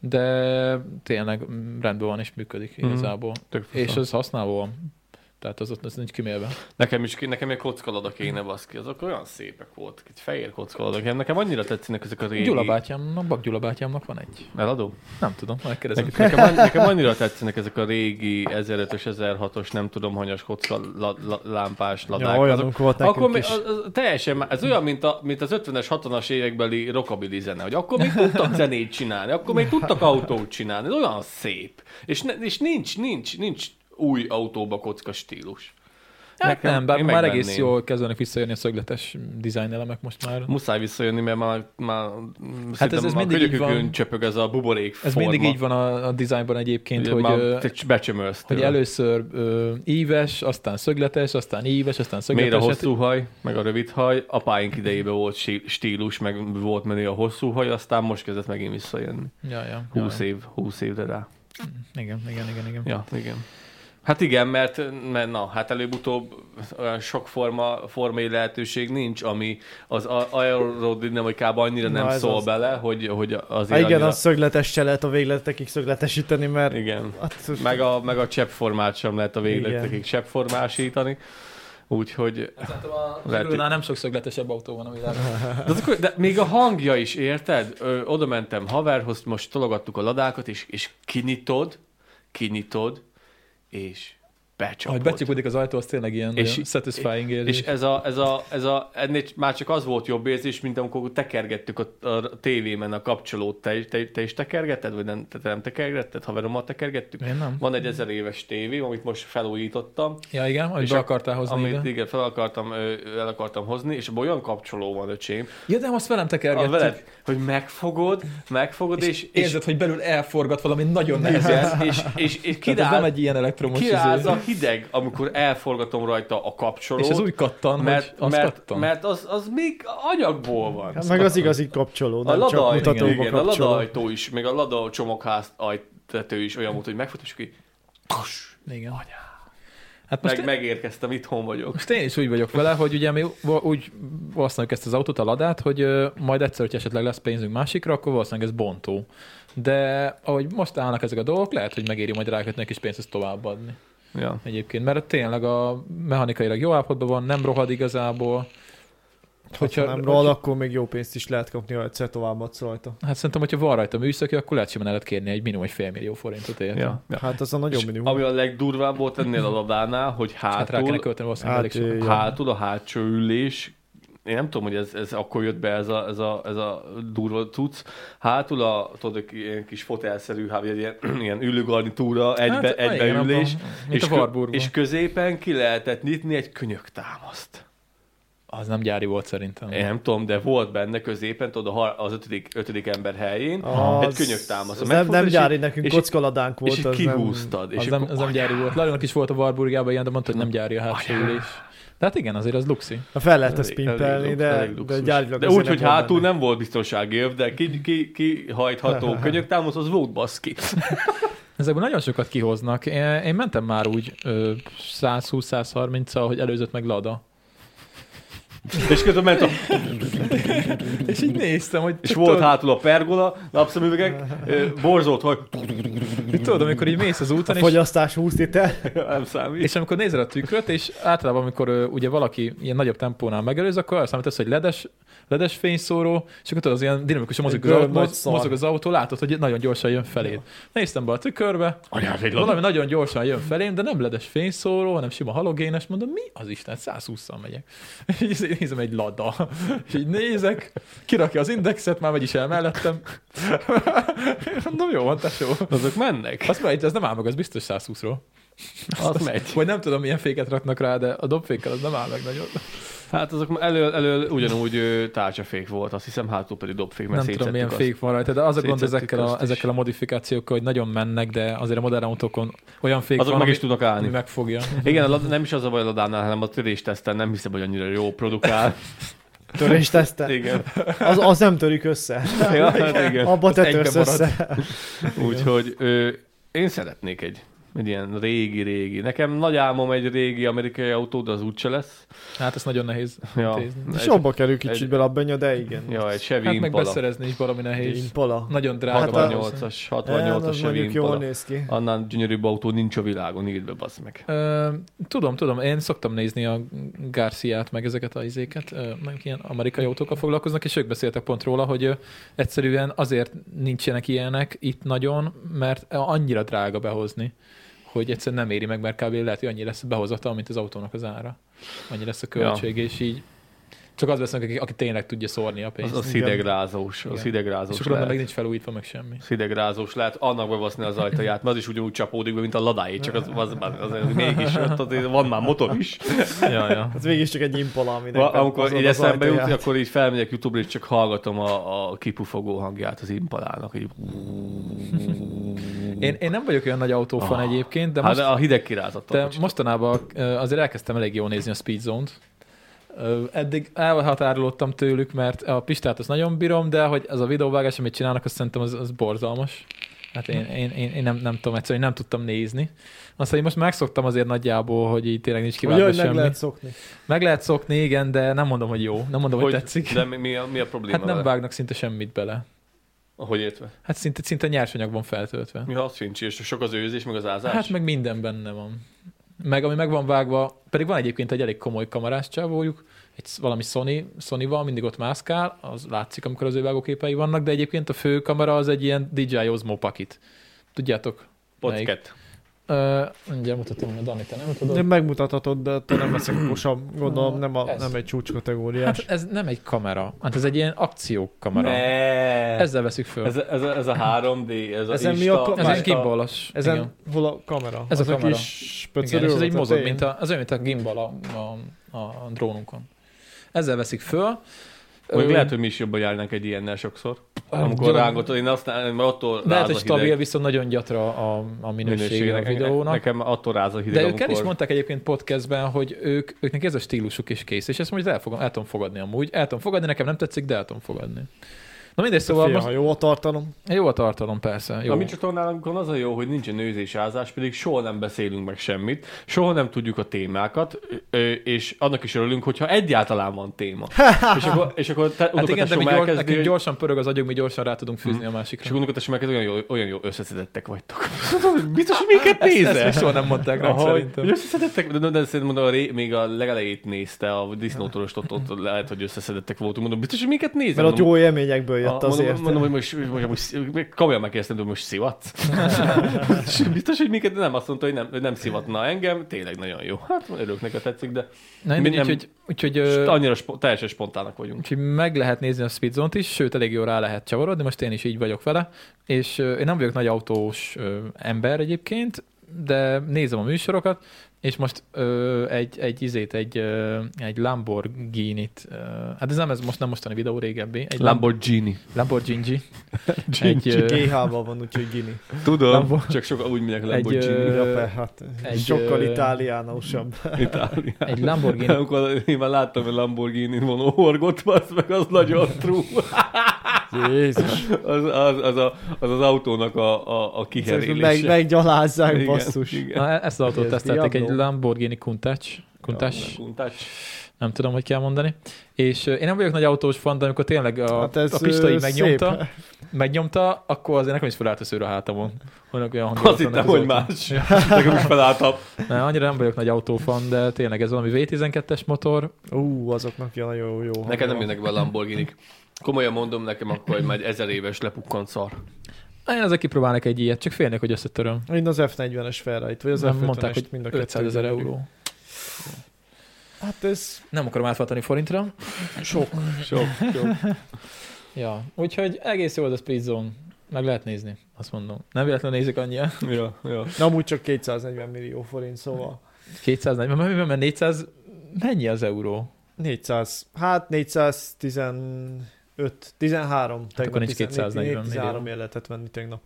B: de tényleg mm, rendben van és működik
C: Mhm.
B: igazából.
C: Tök
B: És
C: és
B: az használva van. Tehát az ott az nincs kimélve.
C: Nekem is nekem egy kockaladak kéne baszki, azok olyan szépek voltak, egy fehér kockaladak. Nekem annyira tetszenek ezek a régi.
B: Gyula bátyámnak, Bak Gyula bátyámnak van egy.
C: Eladó?
B: Nem tudom, megkérdezem.
C: Nekem, nekem, an- nekem annyira tetszenek ezek a régi 1005-ös, 1006-os, nem tudom, hanyas kocka la, la, lámpás ladák.
A: Ja,
C: azok,
A: olyanunk volt nekünk
C: akkor mi,
A: is.
C: az, az, teljesen, má- ez olyan, mint, a, mint az 50-es, 60-as évekbeli rockabilly zene, hogy akkor még
B: (laughs)
C: tudtak zenét csinálni, akkor még tudtak autót csinálni, ez olyan szép. És, ne, és nincs, nincs, nincs új autóba kocka stílus.
B: Hát
C: Nekem-
B: nem, bár
C: én
B: már
C: megvenném.
B: egész jól kezdenek visszajönni a szögletes design elemek most már.
C: Muszáj visszajönni, mert már, már
B: ez-
C: hát
B: ez
C: ez, ez
B: mindig így
C: mindig
B: van.
C: csöpög ez a buborék
B: Ez
C: forma.
B: mindig így van a, a dizájnban egyébként,
C: Ugye
B: hogy,
C: már
B: ö,
C: te becsömölsz
B: hogy
C: tőle.
B: először ö, íves, aztán szögletes, aztán íves, aztán
C: Miért
B: szögletes.
C: a
B: Hát
C: hosszú haj, meg a rövid haj? Apáink idejében volt sí- stílus, meg volt menő a hosszú haj, aztán most kezdett megint visszajönni.
B: Ja, ja,
C: 20
B: ja,
C: év, 20 évre rá.
B: igen, igen, igen, igen.
C: Ja, igen. Hát igen, mert, mert na, hát előbb-utóbb olyan sok forma, formai lehetőség nincs, ami az a- aerodinamikában annyira nem
A: Na, ez
C: szól
A: az.
C: bele, hogy, hogy
A: Há,
C: azért
A: Hát igen,
C: annyira...
A: a szögletes se lehet a végletekig szögletesíteni, mert...
C: Igen.
A: Hát,
C: Meg a, meg a cseppformát sem lehet a végletekig
A: Igen.
C: cseppformásítani.
A: (laughs)
C: Úgyhogy
B: Szerintem a
C: Lehet,
B: Hero-nál nem sok szögletesebb autó van a világon.
C: De, az, akkor- de még a hangja is, érted? Ö, oda mentem haverhoz, most tologattuk a ladákat, és, és kinyitod, kinyitod, és becsapod.
B: Ahogy becsukódik az ajtó, az tényleg ilyen
C: És-
B: nagyon satisfying érzés.
C: és ez a, ez a, ez a, ennél már csak az volt jobb érzés, mint amikor tekergettük a, a tévében a kapcsolót. Te, te, te is tekergetted, vagy nem, te, te nem tekergetted? Haverommal tekergettük?
B: Én nem.
C: Van egy ezer éves tévé, amit most felújítottam,
B: Ja, igen, amit
C: És
B: be
C: a-
B: akartál hozni
C: amit
B: ide.
C: igen, fel akartam, ö, el akartam hozni, és abban olyan kapcsoló van, öcsém,
B: Ja, de azt velem
C: a
B: tekergettük.
C: veled, hogy megfogod, megfogod, és,
B: és,
C: és, és,
B: érzed, hogy belül elforgat valami nagyon nehezen.
C: igen, és, és, és
B: Tehát ez nem
C: kiráz,
B: egy ilyen elektromos
C: kiráz
B: izé.
C: a hideg, amikor elforgatom rajta a kapcsolót,
B: És ez úgy kattan,
C: mert,
B: hogy azt
C: mert,
B: kattan.
C: mert az, az még anyagból van.
A: Hát meg az igazi kapcsoló,
C: A
A: nem csak
C: lada,
A: mutatóba
C: igen, a
A: kapcsoló.
C: lada ajtó is, meg a lada csomagház ajtető is olyan volt, hogy megfogtam, és ki, tuss,
B: Igen. Hát most,
C: meg,
B: meg,
C: megérkeztem, itthon vagyok.
B: most én is úgy vagyok vele, hogy ugye mi va- úgy használjuk ezt az autót, a ladát, hogy ö, majd egyszer, hogy esetleg lesz pénzünk másikra, akkor valószínűleg ez bontó. De ahogy most állnak ezek a dolgok, lehet, hogy megéri majd rákötni egy kis pénzt, ezt továbbadni.
C: Ja.
B: Egyébként, mert tényleg a mechanikailag jó állapotban van, nem rohad igazából.
A: Hogyha Hát, nem
B: hogy-
A: rohad, akkor még jó pénzt is lehet kapni, ha egyszer továbbadsz rajta.
B: Hát szerintem, hogyha van rajta műszaki, akkor lehet simán el lehet kérni egy minimum egy fél millió forintot érte.
C: Ja. Ja.
A: Hát az a
C: És
A: nagyon minimum.
C: ami a legdurvább volt ennél a ladánál, hogy
B: Hát rá
C: hátul
B: kellene költeni valószínűleg
A: Hát,
B: elég sokat.
A: ö, Ja.
C: hátul a hátsó ülés, én nem tudom, hogy ez, ez akkor jött be ez a, ez a, ez a durva cucc. Hátul a tudod, egy ilyen kis fotelszerű, hát egy ilyen, (clears throat) ilyen ülőgarnitúra, egybe,
B: hát,
C: hát, egybeülés,
B: abban, mint és
C: és,
B: a
C: kö,
B: Warburgban.
C: és középen ki lehetett nyitni egy könyöktámaszt.
B: Az nem gyári volt szerintem.
C: Én nem tudom, de volt benne középen, tudod, a har- az ötödik, ötödik ember helyén,
A: Az-
C: egy könyöktámasz.
A: az Nem, nem gyári, nekünk
C: és-
A: kockaladank volt.
C: és így
A: az nem-
C: kihúztad.
B: az,
C: És
B: nem,
C: akkor-
B: az nem gyári volt. Lajnak is volt a Warburgában ilyen, de mondta, hogy nem gyári a hátsó ülés. De hát igen, azért az luxi.
A: Na, fel lehet ezt
C: Elég- elég
A: pimpelni,
C: lux-
A: de,
C: elég
A: de
C: luxus.
A: gyárilag
C: De
A: azért
C: úgy, hogy
A: volt
C: hátul
A: benne.
C: nem volt biztonsági öv, de ki, ki, ki
A: (laughs)
C: hajtható könyöktámasz, az volt baszki. (laughs)
B: Ezekből nagyon sokat kihoznak. Én, én mentem már úgy ö, 120-130-al, hogy előzött meg Lada.
C: És közben ment a,
B: És így néztem, hogy
C: és volt hátul a pergola, napszemüvegek, ö, borzolt, hogy
B: mit tudod, amikor így mész az úton,
A: A
B: és
A: fogyasztás 20 liter.
C: (laughs) (laughs) nem számít.
B: És amikor nézel a tükröt, és általában, amikor ö, ugye valaki ilyen nagyobb tempónál megelőz, akkor arra számítasz, hogy ledes, ledes fényszóró, és akkor tudod, az ilyen dinamikusan mozog, az
A: Egy
B: autó,
A: görb nagy
B: moz-
A: szar.
B: mozog az autó, látod, hogy nagyon gyorsan jön felé. Néztem be a tükörbe,
C: Anyád, egy
B: valami nagyon gyorsan jön felém, de nem ledes fényszóró, hanem sima halogénes, mondom, mi az Isten, 120-szal megyek. (laughs) És így nézem egy lada, és így nézek, kirakja az indexet, már megy is el mellettem. (laughs) Mondom, jó van, tesó.
C: Azok
B: (laughs)
C: mennek.
B: Azt mondja, ez nem áll meg, az biztos 120-ról.
C: Az megy.
B: Vagy nem tudom, milyen féket raknak rá, de a dobfékkel az nem áll meg nagyon.
C: Hát azok elől, elől ugyanúgy ö, tárcsafék volt, azt hiszem hátul pedig dobfék, mert
B: nem tudom, milyen
C: szétszettük azt.
B: fék van rajta, de az a gond
C: Szétszettük
B: ezekkel a,
C: azt is.
B: ezekkel a modifikációkkal, hogy nagyon mennek, de azért a modern autókon olyan fék
C: Azok
B: van,
C: meg
B: ami,
C: is tudnak
B: (laughs) ami
C: állni.
B: megfogja.
C: Igen, a lad- nem is az a baj a ladánál, hanem a törésteszten nem hiszem, hogy annyira jó
A: (laughs)
C: produkál.
A: Törést teszte.
C: Igen.
A: Az, az nem törik össze.
C: Ja, hát igen.
A: Abba
B: Az
A: te
B: egybe
A: törsz
B: marad.
A: össze.
C: Úgyhogy ö, én szeretnék egy Egy ilyen régi-régi. Nekem nagy álmom egy régi amerikai autó, de az úgyse lesz.
B: Hát ez nagyon nehéz
C: Ja.
B: intézni.
A: És
C: Egy,
A: jobba kerül kicsit
C: egy-
A: bele a benya, de igen.
C: ja, egy Chevy
B: Hát meg
C: Impala.
B: beszerezni is valami nehéz.
A: Impala.
B: Nagyon drága.
A: Hát a-
C: 68-as,
A: Hát, az
C: 68-as Chevy
A: mondjuk jól
C: Impala.
A: néz ki.
C: Annál gyönyörűbb autó nincs a világon, írd be, bassz meg.
B: Ö, tudom, tudom, én szoktam nézni a Garciát, meg ezeket a izéket, ö, meg ilyen amerikai autókkal foglalkoznak, és ők beszéltek pont róla, hogy ö, egyszerűen azért nincsenek ilyenek itt nagyon, mert annyira drága behozni, hogy egyszerűen nem éri meg, mert kb. lehet, hogy annyi lesz a behozata, mint az autónak az ára. Annyi lesz a költség, ja. és így csak az vesznek, aki, aki tényleg tudja szórni a
C: Az,
B: pénzt.
C: az
A: igen.
C: hidegrázós, az
B: Igen.
C: hidegrázós
B: és akkor meg
C: lehet.
B: nincs felújítva, meg semmi.
C: Az hidegrázós lehet, annak bevaszni az ajtaját, mert az is ugyanúgy csapódik be, mint a ladáé, csak az, az, az, az mégis, ott azért van már motor is.
B: Ja, ja.
A: Hát végig csak egy impala, aminek
C: Va- amikor
A: behozod
C: így
A: az
C: eszembe jut,
A: ajtaját.
C: akkor így felmegyek YouTube-ra, és csak hallgatom a, a kipufogó hangját az impalának. Így.
B: Én, én nem vagyok olyan nagy autófan
C: Ah.
B: egyébként, de
C: De hát
B: most
C: most, a hideg kirázattal.
B: De mostanában ö, azért elkezdtem elég jól nézni a Speed Zone-t. Ö, Eddig elhatárolódtam tőlük, mert a Pistát azt nagyon bírom, de hogy az a videóvágás, amit csinálnak, azt szerintem az, az borzalmas. Hát én, én, én, én nem, nem tudom, egyszerűen nem tudtam nézni. Aztán így most megszoktam azért nagyjából, hogy így tényleg nincs
A: Ugye,
B: kiváltva
A: hogy meg
B: semmi.
A: lehet szokni.
B: meg lehet szokni, igen, de nem mondom, hogy jó. Nem mondom, hogy, hogy tetszik.
C: De mi, mi, a, mi a probléma
B: Hát nem
C: vele?
B: vágnak szinte semmit bele.
C: Hogy értve?
B: Hát szinte, szinte nyersanyag van feltöltve.
C: Mi az sincs, és sok az őzés, meg az ázás?
B: Hát meg minden benne van. Meg ami meg van vágva, pedig van egyébként egy elég komoly kamerás csávójuk, egy sz- valami Sony, Sony van, mindig ott mászkál, az látszik, amikor az ő vágóképei vannak, de egyébként a fő kamera az egy ilyen DJI Osmo Pocket. Tudjátok? melyik?
C: Podcast.
B: Ö, Mindjárt mutatom, mert Dani, te nem
A: De
B: tudod.
A: megmutathatod, de te nem
B: (clears throat)
A: leszek okosabb, gondolom nem, a,
B: Ez.
A: nem egy
B: Hát
A: csúcskategóriás.
B: ez nem egy kamera, hát ez egy ilyen akciókamera. Ne.
C: Ez,
B: Ezzel veszük föl.
C: ez,
B: Ez,
C: ez, a- ez a 3D, ez a
A: Ezen mi
C: Insta-
A: a
B: ez
A: már
B: egy
A: a-
B: gimbalos.
A: Ezen
B: igen.
A: hol a kamera?
B: Ez a
A: az
B: kamera.
A: kis
B: Igen,
A: pöcörő,
B: és ez egy
A: az a
B: mozog,
A: tény?
B: mint a, az olyan, mint a gimbal a, a, a drónunkon. Ezzel veszik föl.
C: Mondjuk
B: Ö,
C: lehet, hogy mi is jobban járnánk egy ilyennel sokszor.
B: Ah,
C: Amikor
B: gyom-
C: rángatod, én azt nem, mert attól
B: Lehet,
C: ráz
B: hogy
C: a
B: stabil,
C: hideg.
B: viszont nagyon gyatra a, a minősége a
C: Minőségnek.
B: videónak.
C: Nekem attól ráz a hideg,
B: De ők
C: amikor...
B: el is mondták egyébként podcastben, hogy ők, őknek ez a stílusuk is kész, és ezt mondjuk el, fogom, el tudom fogadni amúgy. El tudom fogadni, nekem nem tetszik, de el tudom fogadni. Na mindegy, szóval
A: Fia,
B: most
A: ha jó a tartalom.
B: jó a tartalom, persze. Jó.
C: A mi csatornánkon az a jó, hogy nincsen nőzés, ázás, pedig soha nem beszélünk meg semmit, soha nem tudjuk a témákat, ö, és annak is örülünk, hogyha egyáltalán van téma. és akkor, és akkor te,
B: Hát igen, de mi
C: unokatesom
B: gyors,
C: elkezdi,
B: nekünk
C: hogy- Mhm.
B: gyorsan pörög az agyunk, mi gyorsan rá tudunk fűzni a
C: és
B: másikra.
C: akkor unokatesom elkezdi, olyan jó, olyan jó összeszedettek
B: (laughs)
C: vagytok. Biztos, hogy minket
B: Ezt, ezt
C: nézel?
B: még soha nem mondták rá,
C: Ahogy-
B: szerintem.
C: Összeszedettek, de, de, de szerintem mondom, a ré, még a legelejét nézte, a disznótoros ott, ott lehet, hogy összeszedettek voltunk. Mondom, biztos, hogy minket nézel?
A: Mert ott
C: Mondom,
A: jó élményekből jött
C: A-
A: azért.
C: Mondom, mondom, hogy most, most, most, most komolyan megkérdeztem, hogy most
A: (laughs)
C: szivatsz. És Biztos, hogy minket nem azt mondta, hogy nem, hogy nem szivatna engem. Tényleg nagyon jó. Hát örülök neki, ha tetszik, de
B: Na,
C: mi
B: mindegy,
C: nem-
B: úgyhogy, úgyhogy,
C: ö...
B: ö,
C: annyira spo- teljesen spontának vagyunk.
B: Úgyhogy meg lehet nézni a speedzont is, sőt, elég jól rá lehet csavarodni, most én is így vagyok vele, és ö, én nem vagyok nagy autós ö, ember egyébként, de nézem a műsorokat, és most ö, egy, egy izét, egy, ö, egy Lamborghini-t, ö, hát ez nem ez most nem mostani videó, régebbi, egy Lambo-
C: Lamborghini.
A: (laughs)
B: Lamborghini, egy, ö,
A: GH-ban van, úgyhogy Gini.
C: Tudom,
B: Lambo-
C: csak sokan úgy mondják
B: Egy,
C: Lamborghini.
B: (laughs) ö,
A: Ja, be, hát
B: egy,
A: sokkal
B: ö,
A: itáliánosabb.
C: Itáliában.
B: egy Lamborghini
C: Amikor én már láttam, hogy Lamborghini van orgot, az meg az nagyon trú.
A: Jézus.
C: Az az, az, a, az, az autónak a, a, a kiherélése.
A: Hát, Meg, meggyalázzák,
C: Igen,
A: basszus.
C: igen.
B: Na, e- ezt az autót
A: Ez
B: tesztelték, egy
A: Diablo.
B: Lamborghini Countach. Countach,
C: Kuntás.
B: nem tudom, hogy kell mondani. És ö, én nem vagyok nagy autós fan, de amikor tényleg a,
A: Hát
B: hát
A: ez,
B: a pista
A: ö,
B: így megnyomta,
A: szép.
B: megnyomta, akkor azért nekem is felállt a szőr a hátamon. Vannak olyan hangulatok,
C: Azt hittem,
B: vannak az
C: hogy
B: autón.
C: más. Nekem is felálltam.
B: Nem, annyira nem vagyok nagy autófan, de tényleg ez valami V12-es motor.
A: Ú, azoknak ilyen nagyon jó. hangja
C: Nekem nem
A: van.
C: jönnek be a Lamborghinik. Komolyan mondom nekem, akkor már egy ezer éves lepukkant szar.
B: Én azért kipróbálnék egy ilyet, csak félnék, hogy összetöröm.
A: Én az F40-es Ferrari-t, vagy az
B: nem mondták,
A: F50-est
B: hogy
A: mind a
B: 500 ezer
A: kettőt.
B: euró.
A: Hát ez
B: Nem akarom átváltani forintra.
A: sok.
C: Sok, sok.
B: Ja, úgyhogy egész jó az a Speed Zone. Meg lehet nézni, azt mondom. Nem véletlenül nézik annyian.
C: Ja, ja.
A: Na, amúgy csak 240 millió forint, szóval
B: 240, mert- mert mert 400, mennyi az euró?
A: 400, hát 415, 13. Hát
B: akkor nincs 240
A: 13 életet venni tegnap.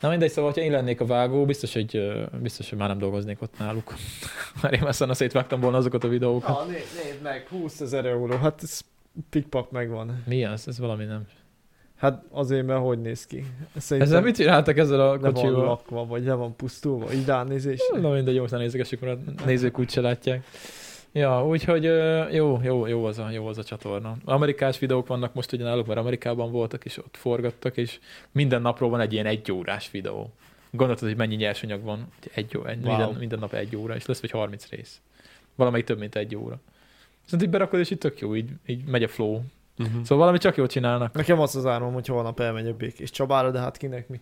B: Na mindegy, szóval, ha én lennék a vágó, biztos, hogy, ö, biztos, hogy már nem dolgoznék ott náluk. (laughs) Mert én már szana szétvágtam volna azokat a videókat.
A: Ah, nézd, nézd meg, 20 ezer euró, hát ez pikpak megvan.
B: Mi az? Ez valami nem.
A: Hát azért, mert hogy néz ki. Szerintem
B: Ezzel mit csináltak ezzel a
A: le van
B: kocsival?
A: lakva, vagy le van pusztulva, így ránézés.
B: Na mindegy, jó, aztán nézegessük, mert a nézők úgy se látják. Ja, úgyhogy ö, jó, jó, jó az, a, jó az a csatorna. Amerikás videók vannak most ugyanálok, mert Amerikában voltak, és ott forgattak, és minden napról van egy ilyen egyórás videó. Gondolod, hogy mennyi nyersanyag van? Hogy Egy ó, egy,
A: Wow.
B: minden, minden, nap egy óra, és lesz vagy 30 rész. Valamelyik több, mint egy óra. Szóval így berakod, és így tök jó, így, így megy a flow.
C: Uh-huh.
B: Szóval valami csak jól
A: (laughs)
B: csinálnak.
A: Nekem az az álmom, hogy holnap elmegyek Békés Csabára, de hát kinek mi.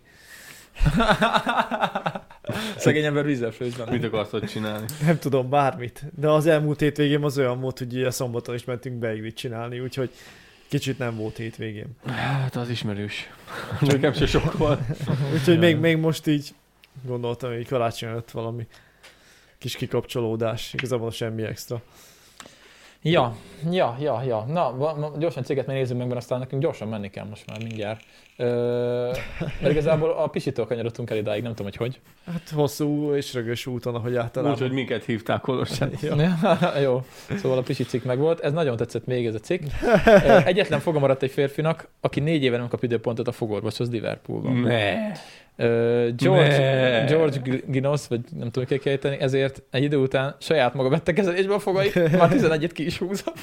B: Szegény ember vízzel főzben.
C: Mit akarsz ott csinálni?
A: Nem tudom, bármit. De az elmúlt hétvégém az olyan volt, hogy a szombaton is mentünk beiglit csinálni, úgyhogy kicsit nem volt hétvégém.
C: Hát az ismerős. Nekem se sok van.
A: Úgyhogy még, még most így gondoltam, hogy karácsony előtt valami kis kikapcsolódás, igazából semmi extra.
B: Ja, ja, ja, ja. Na, va- ma- gyorsan céget még nézzük meg, mert aztán nekünk gyorsan menni kell most már mindjárt. Ö, mert igazából a pisitől kanyarodtunk el idáig, nem tudom, hogy hogy.
A: Hát hosszú és rögös úton, ahogy általában.
C: Úgyhogy minket hívták Kolossán.
B: Ja. (laughs) Jó, szóval a pisi cikk meg volt. Ez nagyon tetszett még ez a cikk. Ö, Egyetlen foga maradt egy férfinak, aki négy éve nem kap időpontot a fogorvoshoz Liverpoolban.
C: Ne.
B: Ö, George,
C: Ne.
B: George G- Ginos, vagy nem tudom ki kiejteni, ezért egy idő után saját maga vette kezelésbe a fogait, már 11-et ki is
C: (laughs)
B: húzott.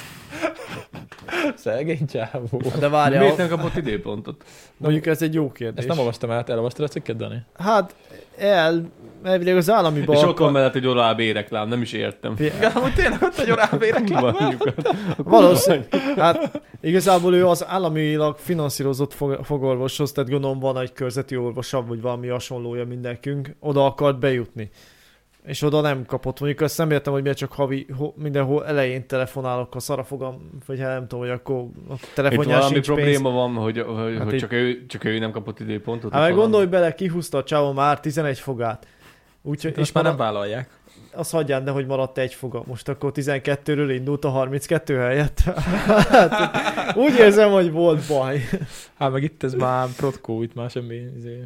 B: Szegény csávó.
A: De
C: Miért
A: várjál,
C: nem kapott időpontot?
A: mondjuk ez egy jó kérdés.
B: Ezt nem olvastam át, elolvastad a cikket, Dani? (laughs)
A: Hát, el, elvileg az állami
C: És ott van
A: balkon,
C: mellett egy oláb éreklám, nem is értem.
B: Igen, amúgy tényleg ott egy orábérek
C: Mondjuk,
A: valószínűleg, hát igazából ő az államilag finanszírozott fog, fogorvoshoz, tehát gondolom van egy körzeti orvosabb, vagy valami hasonlója mindenkünk, oda akart bejutni. És oda nem kapott, mondjuk azt nem értem, hogy miért csak havi, ho, mindenhol elején telefonálok, ha szarafogam, vagy ha nem tudom, hogy akkor a
C: Itt
A: telefonján
C: valami
A: sincs pénz.
C: probléma van, hogy, hogy,
A: Hát
C: hogy
A: így-
C: csak, ő, csak ő nem kapott időpontot.
A: Hát
C: vagy
A: meg
C: valami.
A: gondolj bele, kihúzta a csávó már 11 fogát. Úgyhogy,
B: És már nem vállalják.
A: azt hagyján, de hogy maradt egy foga. Most akkor 12-ről indult a 32 helyett. (laughs) Hát, úgy érzem, hogy volt baj.
B: Hát meg itt ez már protkó, itt már semmi... Izé.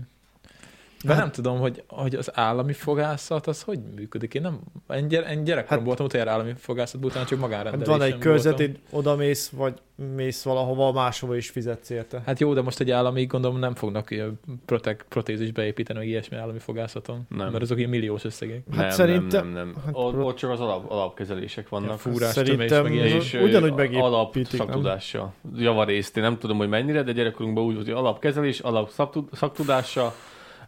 B: De nem tudom, hogy, hogy az állami fogászat az hogy működik. Én nem, én, gyere, én gyerekkorom
A: Hát-
B: voltam, utána állami fogászatban, utána csak
A: Hát
B: magárendelésem
A: van egy körzeti, oda mész, vagy mész valahova, máshova is fizetsz érte.
B: Hát jó, de most egy állami, gondolom nem fognak ilyen protek, protézis beépíteni, vagy ilyesmi állami fogászaton.
C: Nem.
B: Mert azok ilyen milliós összegek.
A: Hát
C: nem,
A: szerintem-
C: Nem, nem, nem.
A: hát
C: ott,
A: pro-
C: ott csak az alap, alapkezelések vannak.
B: Ja, fúrás,
A: Hát Szerintem
B: tömés, meg ilyen.
A: az-
C: és ö,
A: ugyanúgy
C: alap
A: megépítik, nem?
C: szaktudással, javarészt, én nem tudom, hogy mennyire, de gyerekkorunkban úgy volt, hogy alapkezelés, alap szaktu- szaktudással,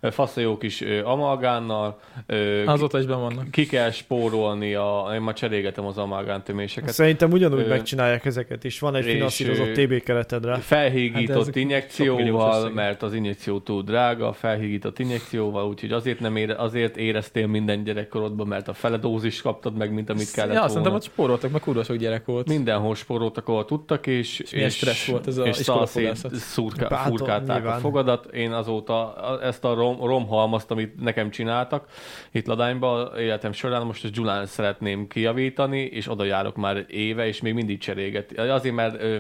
C: ö, fasz a jó kis ö, amalgánnal, ö,
B: Azóta is ben vannak.
C: ki kell spórolni, a, én már cserégetem az amalgántöméseket,
A: Szerintem ugyanúgy
C: Ö,
A: megcsinálják ezeket is. Van egy
C: és,
A: finanszírozott
C: ö,
A: TB keretedre.
B: Hát de
C: Felhígított
B: ezek sok milliós
C: injekcióval,
B: összegek.
C: mert az injekció túl drága, felhígított injekcióval, úgyhogy azért, nem ére, azért éreztél minden gyerekkorodban, mert a fele dózis kaptad meg, mint amit kellett
B: ja,
C: ja,
B: azt
C: volna.
B: mondtam, hogy spóroltak, meg kurva sok gyerek volt.
C: Mindenhol spóroltak, ahol tudtak, és, és,
B: milyen stressz volt ez a
C: és szalszét
B: iskolafogászat?
C: szurka,
A: Bátor,
C: furkálták
A: nyilván.
C: a fogadat. Én azóta a- ezt a rom, romhalmazt, amit nekem csináltak itt Ladányban életem során, most ezt Gyulán szeretném kijavítani, és oda járok már éve, és még mindig cseréget. Azért, mert, ö,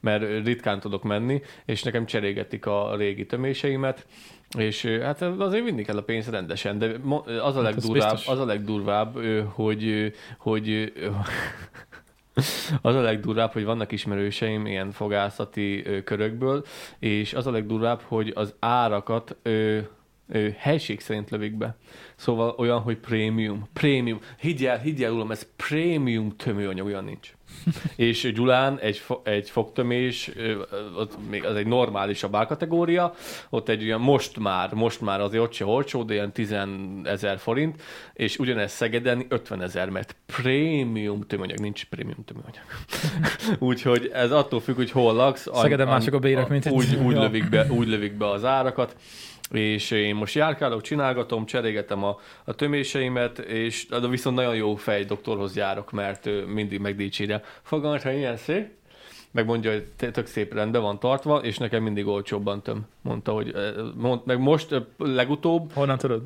C: mert ritkán tudok menni, és nekem cserégetik a régi töméseimet, és ö, hát azért vinni kell a pénzt rendesen, de mo- az a,
B: Hát ez
C: legdurvább,
B: biztos.
C: az a legdurvább, ö, hogy, ö, hogy ö, (laughs) az a legdurvább, hogy vannak ismerőseim ilyen fogászati ö, körökből, és az a legdurvább, hogy az árakat ö, ö, helység szerint lövik be. Szóval olyan, hogy prémium. Prémium. Higgyel, higgyel, uram, ez prémium tömőanyag, olyan nincs. és Gyulán egy, fo- egy fogtömés, ö, ö, ott még az egy normálisabb árkategória, ott egy olyan most már, most már azért ott se olcsó, de ilyen 10 ezer forint, és ugyanez Szegeden 50 ezer, mert prémium tömőanyag, nincs prémium tömőanyag. Úgyhogy ez attól függ, hogy hol laksz. an-
B: Szegeden
C: an-
B: mások a bérek, mint itt.
C: úgy, úgy,
B: Ja.
C: lövik be, úgy lövik be az árakat, és én most járkálok, csinálgatom, cserégetem a, a töméseimet, és de viszont nagyon jó fej doktorhoz járok, mert ő mindig megdicsére. Fogalmat, ha ilyen szép, megmondja, hogy te- tök szép rendben van tartva, és nekem mindig olcsóbban töm. Mondta, hogy eh, mond, meg most eh, legutóbb,
B: Honnan tudod?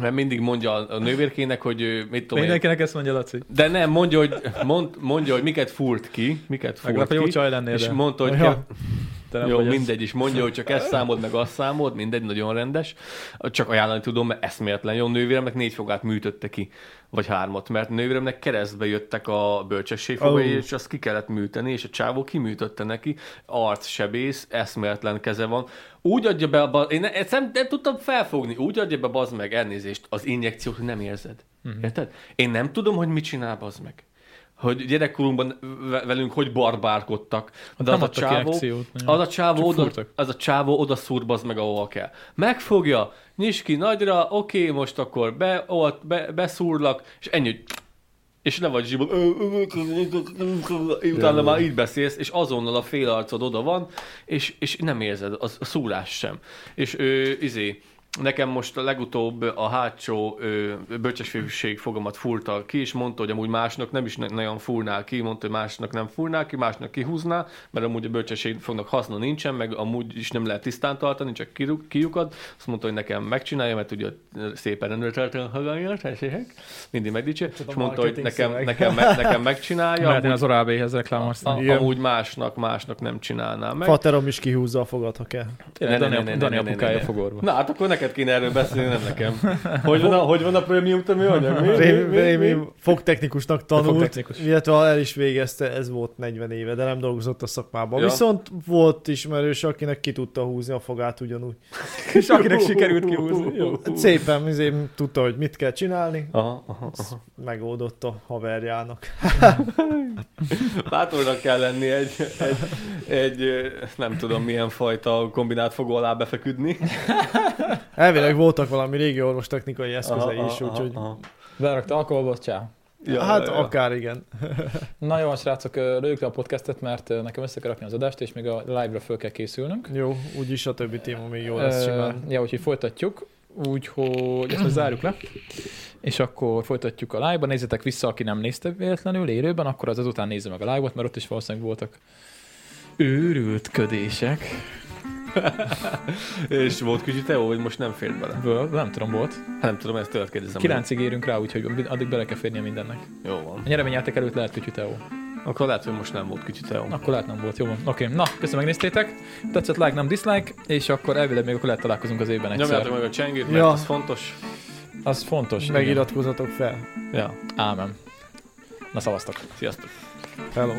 C: mert mindig mondja a a nővérkének, hogy ő, mit tudom én,
B: Mindenkinek ezt mondja, Laci.
C: de nem, mondja, hogy, mond, mondja, hogy miket fúrt ki, miket fúrt
B: Meglep, hogy
C: ki.
B: jó csaj lennél,
C: És
B: de.
C: mondta, hogy
A: Ja.
C: ja.
B: Istenem,
C: Jó,
B: hogy ez-
C: mindegy is, mondja, hogy csak ezt számod, meg azt számod, mindegy, nagyon rendes. Csak ajánlani tudom, mert eszméletlen jó nővéremnek négy fogát műtötte ki, vagy hármat, mert nővéremnek keresztbe jöttek a bölcsességfogai,
A: Ó.
C: oh. és azt ki kellett műteni, és a csávó kiműtötte neki, arcsebész, eszméletlen keze van. Úgy adja be, a ba- én ne- ezt nem, nem tudtam felfogni, úgy adja be bazd meg elnézést, az injekciót hogy nem érzed.
B: Mhm.
C: Érted? Én nem tudom, hogy mit csinál bazd meg. Hogy gyerekkorunkban ve- velünk hogy barbárkodtak. De
B: Hát nem
C: az a
B: adtak
C: csávó,
B: injekciót, nem.
C: az a csávó,
B: Csak
C: oda,
B: fúrtak.
C: az a csávó oda szúrbaz meg, ahol kell. Megfogja, nyis ki nagyra, oké, most akkor be, ott, be, beszúrlak, és ennyi, hogy és le vagy zsibon, utána már így beszélsz, és azonnal a fél arcod oda van, és, és nem érzed az, a szúrás sem. És ő, izé, nekem most a legutóbb a hátsó ö, bölcsesfőség fogamat fúrta ki, és mondta, hogy amúgy másnak nem is ne- nagyon fúrnál ki, mondta, hogy másnak nem fúrnál ki, másnak kihúzná, mert amúgy a bölcsesség fognak haszna nincsen, meg amúgy is nem lehet tisztán tartani, csak kirú- kiukad. Azt mondta, hogy nekem megcsinálja, mert ugye szépen rendőrtartóan hallgatja, tessék, mindig megdicsért. És mondta, hogy
A: marketing
C: nekem,
A: szöveg.
C: nekem, me- nekem megcsinálja,
B: Mert én
C: amúgy, Ah,
B: az Orábéhez reklámoztam.
C: a,
A: Igen.
C: amúgy másnak, másnak nem csinálnám meg.
A: Faterom is kihúzza a fogad, ha kell.
B: Tényleg,
C: Ne, ne, ne,
B: Dani,
C: ne,
B: Dani
C: ne, ne,
B: apukája
C: ne, ne.
B: fogorva.
C: Na hát akkor neked kéne erről beszélni, nem
B: (laughs)
C: nekem. Hogy van a, hogy van a prémium
A: (laughs)
C: tömőanyag? Mi, mi,
A: Rémi,
C: mi, mi, mi?
A: Rémi fogtechnikusnak tanult,
B: Fogtechnikus.
A: illetve ha el is végezte, ez volt 40 éve, de nem dolgozott a szakmában.
C: Ja.
A: Ja. Viszont volt ismerős, akinek ki tudta húzni a fogát ugyanúgy.
B: És akinek sikerült kihúzni. Jó.
A: Szépen izé, tudta, hogy mit kell csinálni,
C: Aha, aha,
A: Ezt megoldott a haverjának.
C: Bátornak kell lenni egy, egy, egy, ö, nem tudom milyen fajta kombinált fogó alá befeküdni.
A: Elvileg voltak valami régi orvostechnikai eszközei is, úgyhogy...
C: aha.
B: Berakta alkoholba, az csá.
C: Ja,
A: hát
C: ja, ja.
A: akár igen.
B: Na jó, srácok, ö, lőjük le a podcastet, mert ö, nekem össze kell rakni az adást, és még a live-ra föl kell készülnünk.
A: Jó, úgyis a többi téma még jó lesz
B: Ö,
A: simán.
B: Ja, úgyhogy folytatjuk. Úgyhogy ezt most zárjuk le, és akkor folytatjuk a live-ban. Nézzetek vissza, aki nem nézte véletlenül élőben, akkor az azután nézze meg a live-ot, mert ott is valószínűleg voltak őrültködések.
C: És volt kicsit te, hogy most nem fér bele.
B: Ből, nem tudom, volt.
C: Hát Nem tudom, ezt tőled kérdezem.
B: Kilencig érünk rá, úgyhogy addig bele kell férnie mindennek.
C: Jó van.
B: A nyereményjáték előtt lehet kicsit EU.
C: Akkor lehet, hogy most nem volt kicsit jó.
B: Akkor lehet nem volt, jó van. Oké, na, köszönöm, megnéztétek. Tetszett, like, nem dislike, és akkor elvileg még akkor lehet találkozunk az évben egyszer.
C: Nyomjátok meg a csengőt, mert
A: Ja.
C: az fontos.
B: Az fontos. igen.
A: Megiratkozatok fel.
C: Ja.
B: Ámen. Na szavaztok.
C: Sziasztok.
A: Hello.